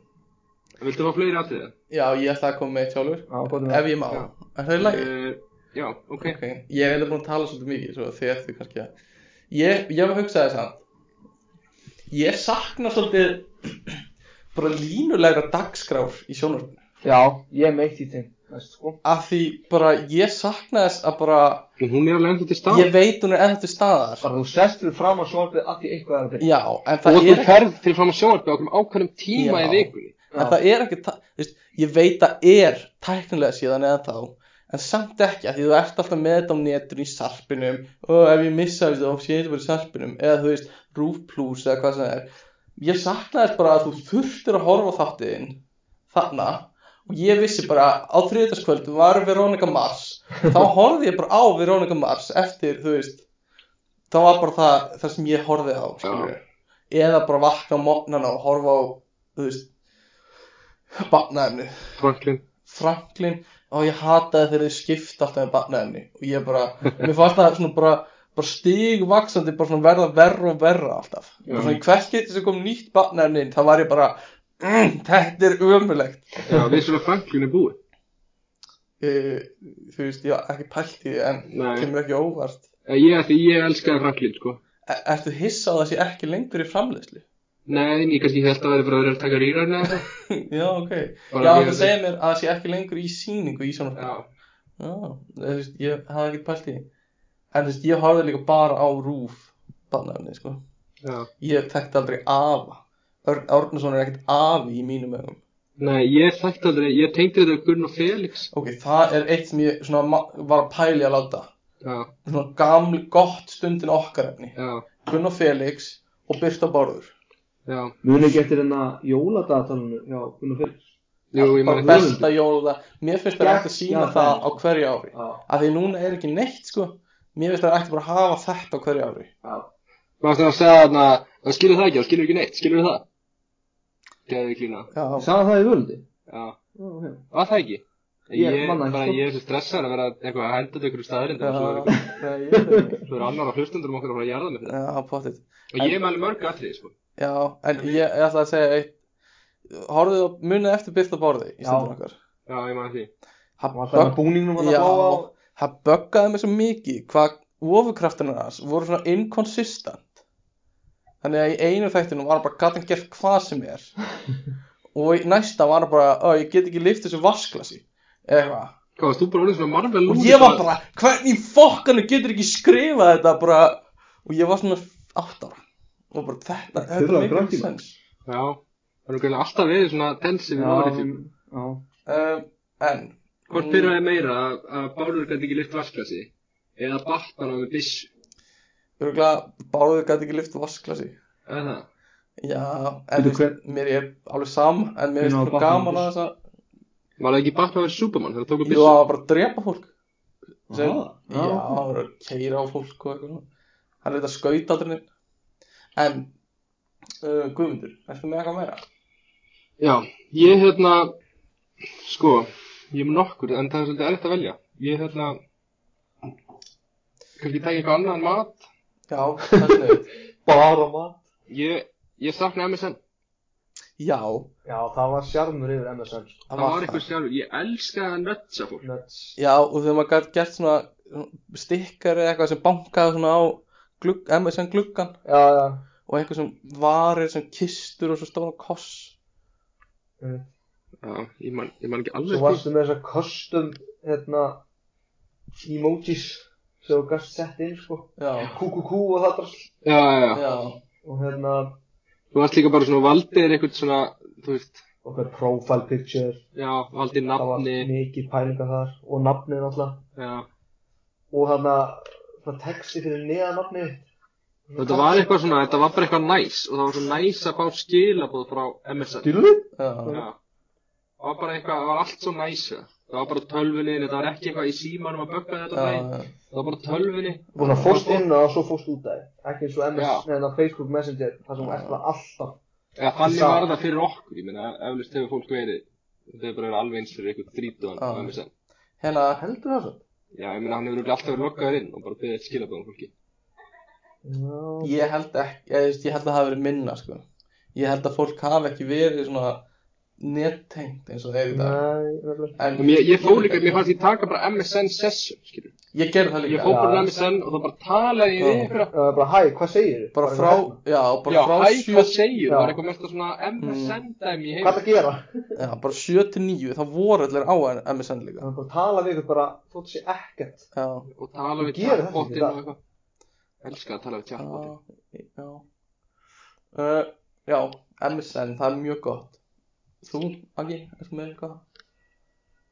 D: viltu fá fleiri atrið?
A: já, ég ætla að koma með eitt sjálfur
B: Já, gott um
A: ef ég má,
D: Já.
A: er það í lagi?
D: Uh, já, ok,
A: ok, ég er eða búin að tala svolítið mikið svo þið ertu kannski að ég, ég var að hugsa þess að ég sakna svolítið bara línulegra dagskrár í sjónvarpinu
B: Já, ég er meitt í þeim Næst, sko
A: af því bara ég sakna þess að bara
D: en hún er alveg ennþá til stað,
A: ég veit hún er ennþá til staðar
B: Bara þú sest við fram að sjónvarpið að því eitthvað er að byrja
A: já, en
D: og
A: það
D: þú
A: er ekki
D: ferð fyrir fram á sjónarbi á okkur ákveðnum tíma
A: Já.
D: í vikunni.
A: en það er ekki, ta- þú veist, ég veit að er tæknilega síðan eða þá en samt ekki, af því þú ert alltaf með þetta á netur í sarpinum og ef ég missa þessu þá sé ég þetta bara í sarpinum eða þú veist, roof plus eða hvað sem það er ég saknaði þess bara að þú þurftir að horfa á þáttiðin þarna og ég vissi bara á þriðdagskvöldum var Veronica Mars þá horfði ég bara á Veronica Mars eftir, þú veist þá var bara það, það sem ég horfði á skilur. eða bara vakna á mótnana og horfa á, þú veist barnaefni
D: Franklin
A: Franklin og ég hataði þegar þið skipta alltaf með barnaefni og ég bara, mér fannst það svona bara, bara stigvaksandi bara svona verða verra og verra alltaf
D: Já.
A: og svona í hvert getur sem kom nýtt barnaefni inn, þá var ég bara mm, þetta er ömulegt
D: Já, við sem að Franklin er búið
A: uh, þú veist, ég var ekki pælt í því en
D: Nei.
A: kemur ekki á óvart
D: Eh, Ég, ætli, ég elskaði Franklin, sko
A: e Ertu hissa á þess ég ekki lengur í framleiðslu?
D: Nei, ég kannski held að vera bara að vera að taka rýrarni eða eitthvað
A: Já, ok
D: Bara
A: Já,
D: mjög-
A: það segir mér að þess ég ekki lengur í sýningu í svona
D: Já,
A: Já, þú veist, ég hafði ekkert pælt í því. En þú veist, ég horfði líka bara á rúf barnafni, sko
D: já
A: Ég þekkti aldrei afa Örn Árnason er ekkert afi í mínum ögum
D: Nei, ég þekkt aldrei, ég tengdi þetta við Gunn og Felix
A: Ok, það er eitt sem ég svona ma- var að pæli að láta
D: Já,
A: Svona gamli, gott stundin okkar efni
D: já,
A: Gunnar Felix og Birta Bárður
D: já
B: Muni ekki eftir hérna jóladatalunu Já, Gunnar Felix
D: Jú, ég
A: Bara
D: meni það
A: besta jóla Mér finnst það
B: Já,
A: rætt að sína
B: já,
A: það
B: það
A: á hverju ári
B: Já
A: Af því núna er ekki neitt, sko Mér veist að það ætti bara að hafa þetta á hverju ári
B: Já.
D: Maður eftir að segja þarna, það skilur það ekki, það skilur ekki neitt, skilur það? Þegar við klína,
A: Já,
B: Sagði það í völdi?
D: já,
B: Já, ok.
D: var það ekki?
B: Ég
D: Ég,
B: man það ekki,
D: bara,
B: sko.
D: ég er svo stressar að vera eitthvað að henda til ykkur staðrind og svo er
A: já,
D: eitthvað,
A: Nei, ég veit það ekki.
D: svo er annar á hlustundurum okkar að fara að jarða mig fyrir það.
A: já, pottit
D: Og ég mæli mörg atrið, sko.
A: Já, en ég, ég ætla að segja eitt Horfðu og munið eftir byrta borði í
B: Já.
A: stundin okkar
D: Já, ég mæli því.
A: Það
B: Var það með búningnum að
A: Já.
B: það bláa á?
A: það böggaði mig svo mikið hvað ofukraftunar hans voru svona inconsistent þannig að í einu þættinum var hann bara gæti hann gert hvað sem er og í næsta var hann bara "Ó, ég get ekki lift þessu vasklasi eða eitthvað
D: Hvað, varst þú bara orðin svona marvel
A: og ég var bara hvernig fokkanu getur ekki skrifað þetta bara og ég var svona átt ára og bara þetta
B: Þetta var
A: þetta
B: grænt í
A: mikið sens
D: Já, það eru gæðilega alltaf verið svona tensive áriðum.
B: já.
A: um, en
D: Hvort pyrraði meira að, að Bárður gæti ekki lyft vasklasi eða Batman á með bissu?
A: örgulega báðuð gæti ekki lift vasklasi
D: Eða það?
A: Já, en
B: Veitu
A: þú
B: hver-
A: veist, mér er alveg sam, en mér
B: Hvenær
A: er
B: var
A: svo
B: Batman
A: gaman að
B: fyrst?
A: þess að,
D: Var það ekki Batman verið Superman þegar það tók
A: jú,
D: upp
A: það
D: bissu?
A: var bara að drepa fólk. Sem,
B: Aha,
A: já, það var að keira á fólk og eitthvað. svona. Hann er þetta skautaldrinni. En, uh, Guðmundur, ertu með eitthvað meira?
D: Já, ég hérna, sko, ég er með nokkur en það er svolítið erfitt að velja. Ég hérna, kannski tækja eitthvað annað en mat.
A: Já, það er sniðugt.
B: Bara mat.
D: Ég, ég sakna MSN.
A: Já,
B: Já, það var sjarmur yfir MSN, sko.
D: Það var eitthvað sjálfur, ég elskaði að nötsa fólk.
B: Nuts.
A: Já, og þegar maður gæti gert svona stikkari eitthvað sem bankaði svona á glugg, MSN gluggan
B: Já, já.
A: og eitthvað sem varir sem kistur og svo stóna koss.
D: Já, ég man, ég man ekki
B: Svo
D: alveg
B: varstu með þessa custom, hérna, emojis sem þú gæst sett inn, sko.
A: Já,
B: QQQ og það drast.
D: Já, já, já.
A: já,
B: Og hérna,
D: Þú varst líka bara svona valdið er eitthvað svona, þú veist,
B: okkar profile picture.
D: já, valdið
B: Það var
D: nafni,
B: mikið pælinga þar. Og nafnið alltaf.
D: já.
B: Og þarna, það texti fyrir neða nafnið.
D: Þetta var eitthvað svona, þetta var bara eitthvað næs og það var svo næs að fá skilaboð frá MSN.
B: Dýrðu þið?
A: já,
D: Já. Það var bara eitthvað, það var allt svo næs. ja. Það var bara tölvunni, þetta var ekki eitthvað í símanum að bögga þetta daginn.
A: já,
D: Það var bara tölvunni.
B: Og svona fórst inn á það og svo fórst út af það. Ekki eins og MS,
D: Já.
B: neðan að Facebook Messenger, þar sem þú ert bara alltaf.
D: Eða þannig
B: Sá.
D: var það fyrir okkur, ég meina, eflust hefur fólk verið, þetta hefur bara verið alveg eins fyrir eitthvað þrítuðan á
A: Já.
D: MSN.
A: hérna,
B: Heldur það svo?
D: Já, ég meina, hann hefur örugglega alltaf verið lokkaður inn og bara beðið eitt skilaboð um fólki.
B: Já.
A: Ég held ekki, ég, veist, ég held að það hafi verið minna sko. Ég held að fólk hafi ekki verið svona nettengt eins og það er í dag
B: Nei, nefnilega.
A: En
D: Um, ég, ég fór líka, mér fannst ég taka bara MSN session, skilur.
A: ég gerði það
D: Ég
A: líka
D: fór bara um
B: Já.
D: í MSN og það bara talaði ég
A: Já.
D: við ykkur
B: Það er bara, hæ, hvað "Hérna, segir þið?
A: Bara frá, já, bara
D: hérna. Já,
A: frá
D: hæ,
A: sjö, Mm.
D: hvað segir, það
B: Já.
D: var eitthvað mesta svona MSN-dæmi í
B: Hvað
D: heim.
B: er að gera?
A: já, bara sjö til níu, það voru allir á MSN
B: Það
A: líka
B: er bara að tala við ykkur bara, þótt sé ekkert.
A: Já,
D: Og tala við
B: Gera þetta ekki
D: chatbotinn
B: í dag.
D: og eitthvað. Elskar að tala við
A: já,
D: chatbotinn.
A: já uh, Já, MSN, það er mjög gott Þú, Agi, ertu með eitthvað?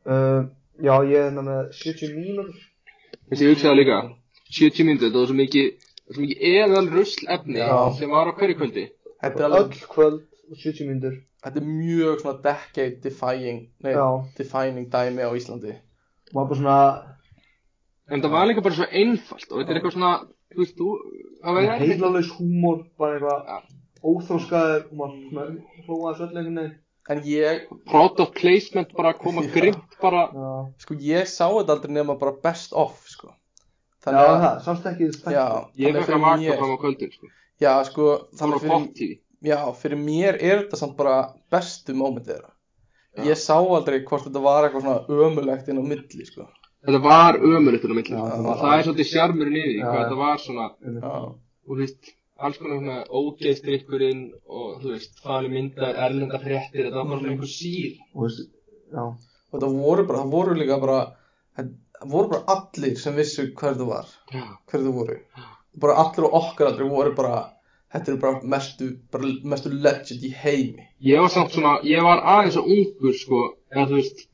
B: Uh, já, ég er hérna með 70 mínútur.
D: Þessi ég hugsaði líka, 70 mínútur, það var svo mikið, svo mikið eðal rusl efni
A: Já.
D: sem var á hverju kvöldi.
A: Þetta er, alveg,
B: Öll kvöld og 70 mínútur.
A: þetta er mjög svona decade defying, nei,
B: Já.
A: defining dæmi á Íslandi
B: Var bara svona,
D: En það var líka bara svo einfalt og þetta er eitthvað svona, þú veist, þú, það var erfitt.
B: heilalaus húmor, bara
D: Já.
B: eitthvað óþróskaður og maður svona hlóaði þessu öll einhvern veginn.
A: En ég,
D: Product placement bara að koma
A: Já.
D: grimt bara,
B: Já.
A: sko ég sá þetta aldrei nema bara best off sko.
B: Já, það, sást ekki þessu
A: já,
D: ég
A: þannig
D: var ekki að
A: fyrir
D: vaka
A: mér
D: fram á kvöldin, sko.
A: já, sko,
D: Það
A: þannig
D: var
A: fyrir,
D: pop-tv.
A: já, fyrir mér er þetta samt bara bestu mómentið þeirra
D: Já.
A: ég sá aldrei hvort þetta var eitthvað svona ömulegt inn á milli sko.
D: Þetta var ömurlegt inn á milli.
B: Já, það
D: Og
B: var-
D: það er svolítið sjarmurinn yfir því,
B: Já,
D: hvað
B: já.
D: þetta var svona,
B: Já.
A: já,
D: og þú veist, alls konar svona ógeðstrykkurinn og þú veist, fali myndar, erlenda fréttir, þetta var bara svona einhver sír.
B: Og þessu, já.
A: og það voru bara, það voru líka bara það voru bara allir sem vissu hver þú var
D: Já.
A: hver þú voru bara allir og okkar aldrei voru bara þetta er bara mestu, bara mestu legend í heimi
D: Ég var samt svona, ég var aðeins og ungur, sko, eða þú veist,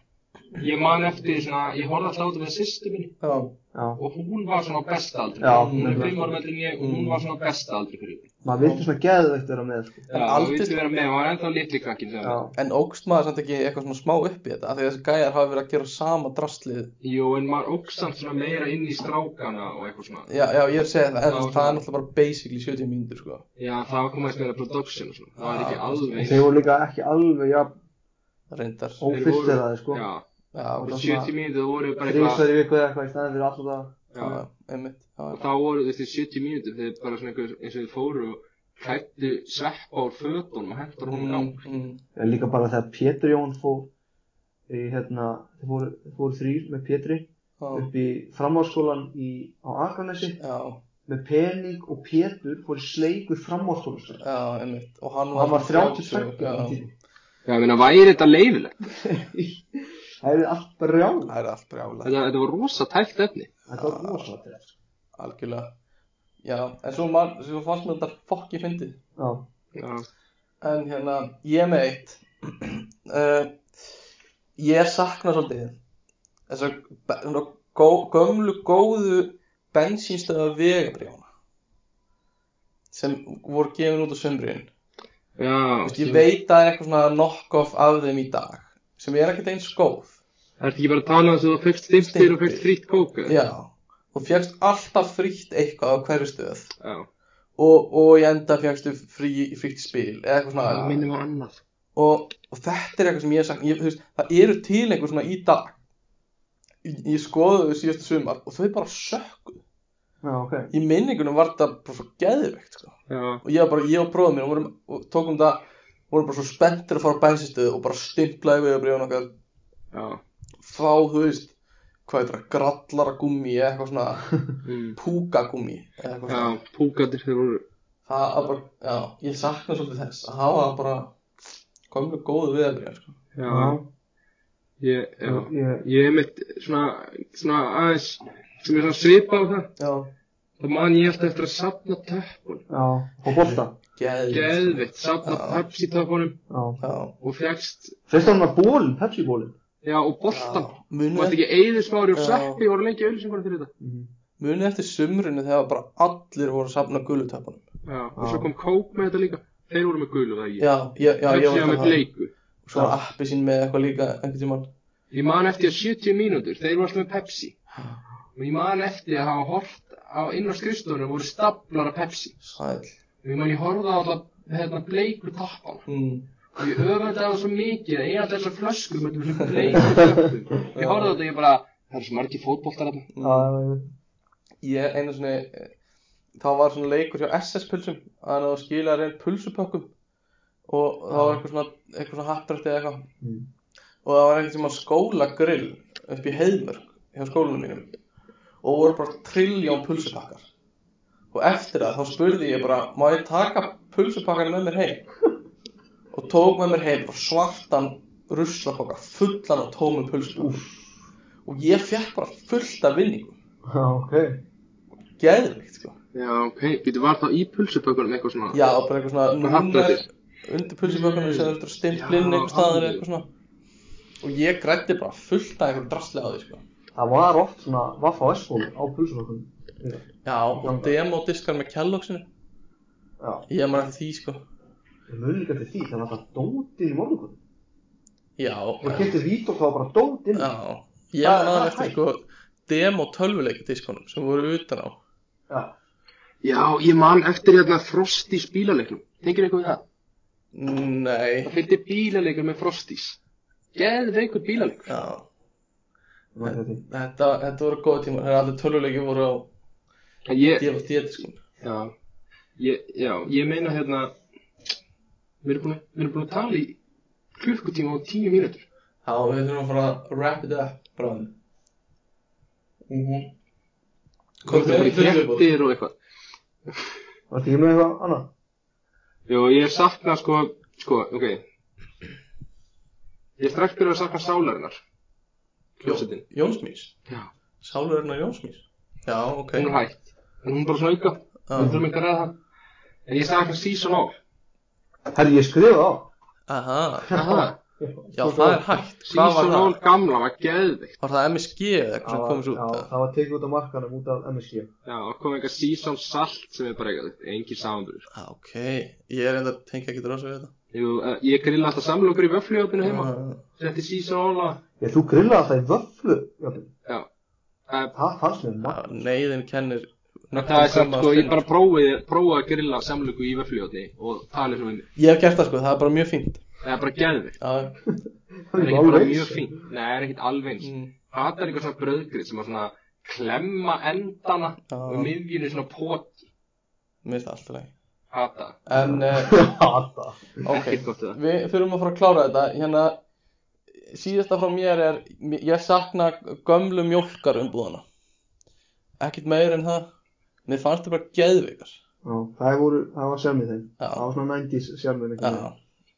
D: ég man eftir því svona, ég horfði alltaf á þetta með sýstu minni
A: já,
B: já.
D: og hún var svona á besta aldri,
B: Já, Mm.
D: hún er
B: nefnilega.
D: fimm ára meldri en ég og hún var svona á besta aldri fyrir því.
B: Maður vildi svona geðveikt vera með, sko.
D: Já,
A: aldur-
D: aldur... vildi vera með, hún var ennþá litli krakkin þegar.
B: Já.
A: en ógst maður samt ekki eitthvað svona smá upp í þetta af því að þessi gæjar hafa verið að gera sama drastlið
D: Jú, en maður ógsamt svona meira inn í strákana og eitthvað svona.
A: já, já, ég er að segja það, en
D: Já,
A: það
D: já.
A: er náttúrulega bara basically 70 mínútur sko
D: Já, það kom aðeins meira production og svona, það var ekki
A: Já.
D: alveg.
B: Þeir voru líka ekki alveg jafn
A: reyndar, já,
D: Þeir
B: ófyrstir
D: voru-
B: aðeins, sko.
D: Já,
A: það var
D: 70
A: svona
D: mínútur voru bara eitthvað,
B: Þrísar í viku eða eitthvað í staðin fyrir alltaf það.
D: já,
A: já, einmitt, já,
D: og þá voru þessi 70 mínútur þegar bara svona einhver, eins og þið fóru og hættu sveppa úr fötunum og hendur hún á.
A: mm, mm,
B: En líka bara þegar Pétur Jón fór í, hérna, þeir fóru, þeir fóru þrýr með Pétri
A: já,
B: upp í framháskólan í, á Akranesi
A: mm, já,
B: með pening og Pétur fór í sleikur framháskólan.
A: já, einmitt og hann
B: Og hann var 32
A: 30, já.
D: Já, ég meina, væri þetta leifilegt?
B: Það hefði allt brjál.
A: það er allt brjálega
D: Þetta, þetta var rosa tækt efni.
B: Þetta var rosalega. sko.
A: algjörlega já, en svo, man, svo fannst mér þetta fokki fyndið
B: Já.
D: Já,
A: en hérna, ég er með eitt uh, ég sakna svolítið þess að gó, gömlu góðu bensínstöða vegabrjána sem voru gefin út á sömbrinn
D: já.
A: ég veit að það er eitthvað svona knock-off af þeim í dag sem er ekkert eins góð
D: Það ert ekki bara að tala um þess að þú fegst stimpir og fegst frýtt kóka?
A: já, og fjöxt alltaf frítt eitthvað á hverju stöð
D: Já.
A: og, og í enda fjöxtu frí, frítt spil eða eitthvað svona
D: Það minnum á annað.
A: og, og þetta er eitthvað sem ég hef sagt ég, þú veist, það eru til einhver svona í dag ég, ég skoði þau síðasta sumar og þau bara sökku
B: Já, ok.
A: í minningunum var þetta bara svo geðveikt sko.
D: Já.
A: og ég var bara, ég og bróðum minn og, vorum, og tókum það, vorum bara svo spenntir að fara á bænsistöðu og bara stimplaði við og bríðan okkar
D: Já.
A: fá, þú veist, hvað heitir það, grallaragummi eða eitthvað svona
D: Mm.
A: púkagummi eða eitthvað
D: Já,
A: svona
D: púkatir þeir voru...
A: það er bara, já, ég sakna svolítið þess að hafa bara komlu góðu viðabrið sko.
D: Já. Ég, já.
B: Ég,
D: Ég er mitt svona, svona aðeins, sem er svona svipað á það.
A: já,
D: Það man ég alltaf eftir að safna töppun.
B: já. Og bolta.
A: geðið
D: Geðvitt, safna
A: Já.
D: pepsi töppunum
B: Já.
A: sko. já,
D: og fegst,
B: Fyrst hann var bólinn, Pepsi-bólinn.
D: já, og boltan.
A: já,
D: Þú
A: muni,
D: veist
A: eftir,
D: ekki eigður smári og
A: Já.
D: sveppi voru lengi auðlýsingar fyrir þetta.
B: Mhm.
A: muni eftir sumrunu þegar bara allir voru að safna gulutöpunum
D: Já. Og svo kom kók með þetta líka. Þeir voru með gulu, það ekki.
A: já, ég, já, ég
D: Pepsi
A: var
D: var
A: að
D: með
A: tala
D: bleiku.
A: og svo var appi sín með eitthvað líka einhvern tímann
D: Ég man eftir 70 mínútur, þeir voru alltaf með Pepsi. Og ég man eftir að hafa hort á inn á skrifstofunum voru staplar af Pepsi.
A: sæl
D: Og ég man ég horfði á alltaf hérna bleiku tappan.
A: mm.
D: Og ég öfandi á það svo mikið að ég alltaf þessar flöskum með þessum bleiku tappum. Ég horfði á þetta og ég bara, það eru svo margir fótboltar þarna.
B: Já, já, já.
A: Mm. ég einu svona þá var svona leikur hjá SS pulsum að það skila reynd pulsupökkum og það var eitthvað svona eitthvað svona hattrætti eða eitthvað
B: Mm.
A: og það var einhvern tíma skólagrill upp í heiðmörk hjá skólanum mínum og voru bara trilljón pulsupakkar og eftir það þá spurði ég bara má ég taka pulsupakkar með mér heim og tók með mér heim bara svartan ruslapokka fullan af tómum pulsupakkum og ég fekk bara fullt af vinningum
B: Já, ok.
A: geðvikt sko
D: Já, ok, býttu var þá í pulsupökkunum eitthvað svona?
A: já, bara eitthvað svona
D: Bara
A: númer
D: happdrættir.
A: undir pulsupökkunum sem þú ert að stimpla inn
D: Já,
A: einhver staðar
D: alveg.
A: eitthvað svona og ég grætti bara fullt af einhver drasli á því sko
B: Það var oft svona Vaffa S-ból á pulsunarkunum.
A: já, og demodiskar með Kellogg'sinu
B: Já.
A: ég maður eftir því sko
B: Ég mun líka til því, það var það dótið í morgunum.
A: já,
B: Og getið vít og það var bara dótið.
A: já ég
B: Það-
A: maður
B: það er
A: eftir
B: hægt.
A: sko demo tölvuleikadiskunum sem voru utan á
B: Já.
D: Já, ég man eftir hérna Frostís bílaleiknum. Tengir eitthvað við það?
A: nei,
D: Það fyrir bílaleikur með Frostís. Geðveikur bílaleikur.
A: já
B: Ég man eftir því.
A: þetta, þetta voru góð tíma þegar allir tölvuleiki voru á
D: Ég,
A: DVD-diskunum
D: Já, ég, já, ég meina hérna, við erum búin að, við erum búin að tala í klukkutíma og tíu mínútur.
A: þá við þurfum að fara að wrap it up bráðum mhm mm
D: Komum við í fréttir og eitthvað.
B: Varstu ekki með eitthvað annað?
D: Jó, ég sakna sko, sko, ok. Ég er strax byrjað að sakna sálarinnar. Klósetin.
A: Jónsmís?
D: Já.
A: Sálurinnar Jónsmís? Já, ok
D: Hún er hægt. En hún er bara svona auka.
A: Já.
D: Við þurfum ekki að ræða það. En ég sakna season off.
B: Herri, ég skrifaði á.
A: Aha
D: Aha.
A: Já, það er hægt. Hvað var
D: Season
A: það?
D: Roll gamla var geðvikt
A: Var það MSG eða eitthvað sem komið svo
B: já,
A: út?
B: það var tekið út á markanum út af MSG
D: Já, það kom eitthvað Season Salt sem er bara eitthvað Engin samanbyrður
A: Já, Ah, ok. Ég er enda að tengja ekki drása við þetta.
D: Jú, eh, ég grilla alltaf samlokur í vöfluhjópinu heima
A: Já,
D: Setti Season Roll á
B: Já, þú grillaði alltaf í vöflu Jafnvel.
D: Já. Eh,
B: Það fannst mér
A: Já,
B: maður
A: neyðin kennir nöktum
D: Það er samt
A: kvenna
D: sko,
A: að
D: ég
A: spila.
D: bara prófaði, prófaði að grilla samlöku í vöfluhjópinu og það er svona,
A: Ég hef gert það sko, það er bara mjög fínt.
D: það er bara geðvikt
A: Já,
D: Það er
B: ekki
D: ekki bara
B: alveg
D: mjög
B: eins.
D: fínt Nei, það er ekkit alveg eins
A: mm,
D: Það er eitthvað svona bröðgrið sem var svona klemma endana
A: Já.
D: og miðjunni svona pót
A: mér finnst það alltaf leið.
D: Hata,
A: En, uh,
B: Hata.
A: ok,
D: ekkert gott við það
A: við þurfum að fara að klára þetta. Hérna, síðasta frá mér er, ég sakna gömlu mjólkar umbúðana. Ekkit meir en það. Mér fannst það bara geðveikar.
B: Já, það voru, það var sjarmið þeim
A: Já.
B: Það var svona 90s sjarmið
A: Já,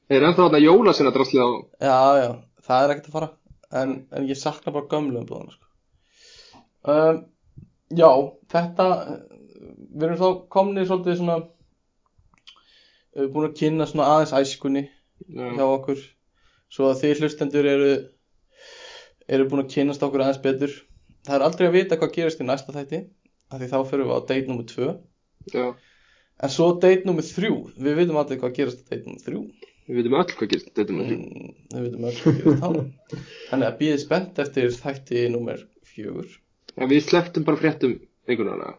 D: Er ennþá þarna jólasina drastlið á
A: já, já, það er ekkert að fara. En, en ég sakna bara gömlu umbúðana, sko. Um, já, þetta, eh, við erum þá komnið svolítið svona, eh, búin að kynna svona aðeins æskunni hjá
D: Já,
A: okkur svo að þið hlustendur eru eru búin að kynnast okkur aðeins betur það er aldrei að vita hvað gerist í næsta þætti af því þá förum við á date nummer 2
D: já
A: en svo date nummer 3 við vitum allir hvað gerist á date nummer 3
D: Við veitum öll hvað gerist þetta með því.
A: mm, við vitum allir hvað gerist þá þannig að býðið spennt eftir þætti nummer 4
D: En við slepptum bara fréttum einhvern veginn.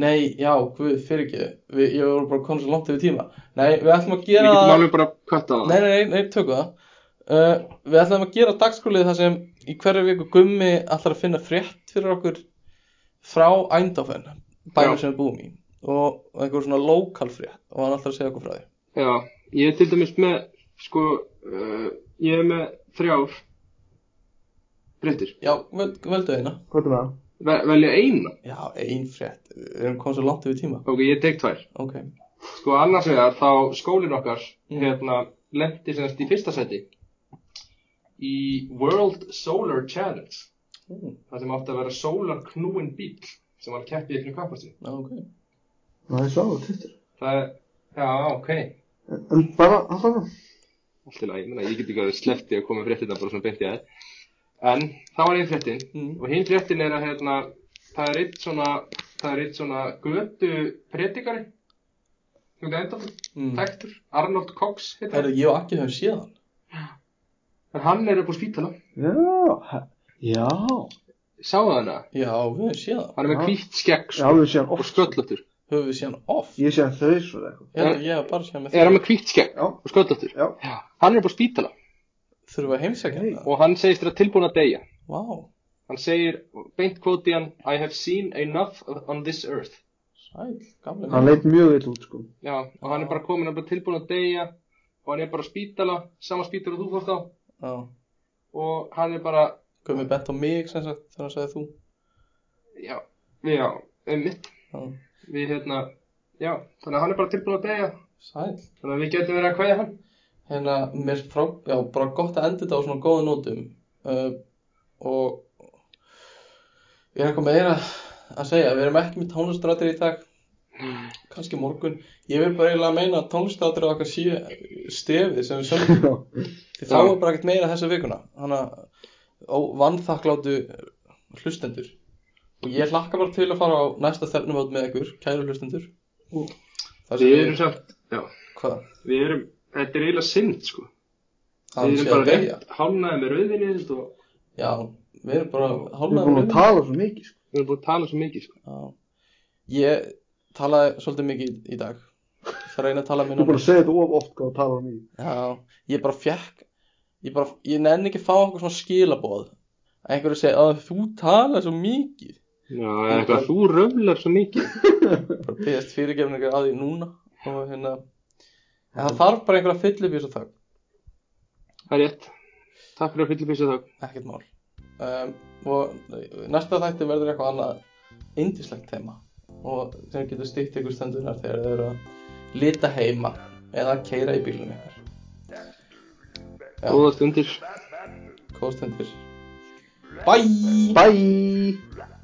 A: nei, já, guð, fyrir ekki við, ég voru bara komin svo langt yfir tíma nei, við ætlum að
D: Við
A: gera
D: getum alveg bara kvætt að
A: Nei, nei, nei, nei tökum það uh, Við ætlum að gera dagskólið þar sem í hverju viku gummi ætlar að finna frétt fyrir okkur frá Eindhoven, bænum
D: Já.
A: sem við búum í og og einhver svona lokal frétt og hann ætlar að segja okkur frá því
D: Já, ég er til dæmis með, sko, uh, ég er með þrjár fréttir.
A: Já, vel, veldu eina
B: Hvað er það?
D: Ve velja eina.
A: Já, ein frétt, við erum komið svo langt yfir tíma
D: Ok, ég tek tvær.
A: Ok,
D: Sko, annars vegar þá skólinn okkar,
A: Mm.
D: hérna, lendi semst í fyrsta seti í World Solar Challenge.
A: mm,
D: Það sem átti að vera solar knúin bíl sem var keppið ykkur kappastri.
A: já, ok
B: Það er sjáðu, tvistur
D: Það er, já, ok.
B: En, en bara, alltaf það
D: Allt í lagi, ég meina, ég get ekki að sleppti að koma með fréttina bara svona beint í aðeins. En, þá var einn fréttin.
A: mm,
D: Og hinn fréttin er að hérna, það er eitt svona, það er eitt svona götu predikari. Þú veit endur,
A: mm.
D: þekktur, Arnold Cox heitir
A: Herðu,
D: hann.
A: ég og Akki höfum séð hann
D: En hann er upp á spítala.
B: Já, he- já
D: Sáðu hana,
A: Já, við höfum séð hann
D: hann er með
B: Já.
D: hvítt skegg
B: Já,
D: sko,
B: við séum
D: og
B: oft
D: sköllóttur.
A: Höfum við séð hann oft
B: Ég séum þau svo eitthvað
A: Ég held að ég hef bara séð hann með
D: Er hann með hvítt skegg
B: Já.
D: og sköllóttur?
B: Já.
D: Hann er upp á spítala
A: Þurfum við að heimsækja
B: Nei.
A: hann
D: og hann segist þér að tilbúin að deyja.
A: Vá,
D: Hann segir, beint kvóti hann, I have seen enough on this earth.
A: sæl, gamlega
B: Hann leit mjög vill út, sko
D: Já, og hann er bara komin, hann er bara tilbúin að deyja og hann er bara á spítala, sama spítala og þú fórst á
A: Já,
D: og hann er bara,
A: Gummi bent á mig sem sagt þegar hann sagði þú
D: já, við já, einmitt,
A: Já,
D: við hérna, já, þannig að hann er bara tilbúin að deyja,
A: sæl
D: þannig að við getum verið að kveðja hann.
A: Hérna, mér frá, já, bara gott að enda þetta á svona góða nótum uh, og ég er eitthvað meira að segja, við erum ekki með tónlistrátir í dag kannski morgun ég vil bara eiginlega meina að tónlistrátir á okkar sé stefið sem við sömum
B: Já,
A: því þá
D: Já.
A: er bara ekkert meira þessa vikuna þannig að vannþakklátu hlustendur og ég hlakka bara til að fara á næsta þernumót með ykkur, kæru hlustendur þar sem
D: Mm. Við erum
A: við,
D: samt, já,
A: hvað,
D: við erum, þetta er eiginlega synd, sko.
A: hann
D: við
A: sé
D: erum
A: að
D: bara
A: deyja
D: reynd, hálnaði með rauðinni þú veist, og
A: já, við erum bara
B: við erum
A: hálfnaði
B: búin að tala svo mikið, sko
D: við erum búin að tala svo mikið, sko.
A: Já. Ég talaði svolítið mikið í- í dag. Það reyna að tala
B: Þú
A: minna.
B: er búin að segja þetta of oft hvað um að tala mikið
A: Já, ég bara fekk, ég bara, ég nenni ekki að fá okkur svona skilaboð. Að einhverju segja, að þú talaði svo mikið.
D: Já, eða eitthvað, þú röflar svo mikið.
A: Bara beðast fyrirgefningar að því núna og hérna. En það þarf bara einhverja fyllu við þessu þögn.
D: Það er rétt. Takk fyrir að fylla písa þá.
A: Ekkert mál. Um, og næsta þætti verður eitthvað annað indislegt tema og sem getur stýtt ykkur stundunar þegar þau eru að lita heima eða að keira í bílunum ykkar. Já.
D: Góða stundir.
A: Góðstendir Bye
B: Bye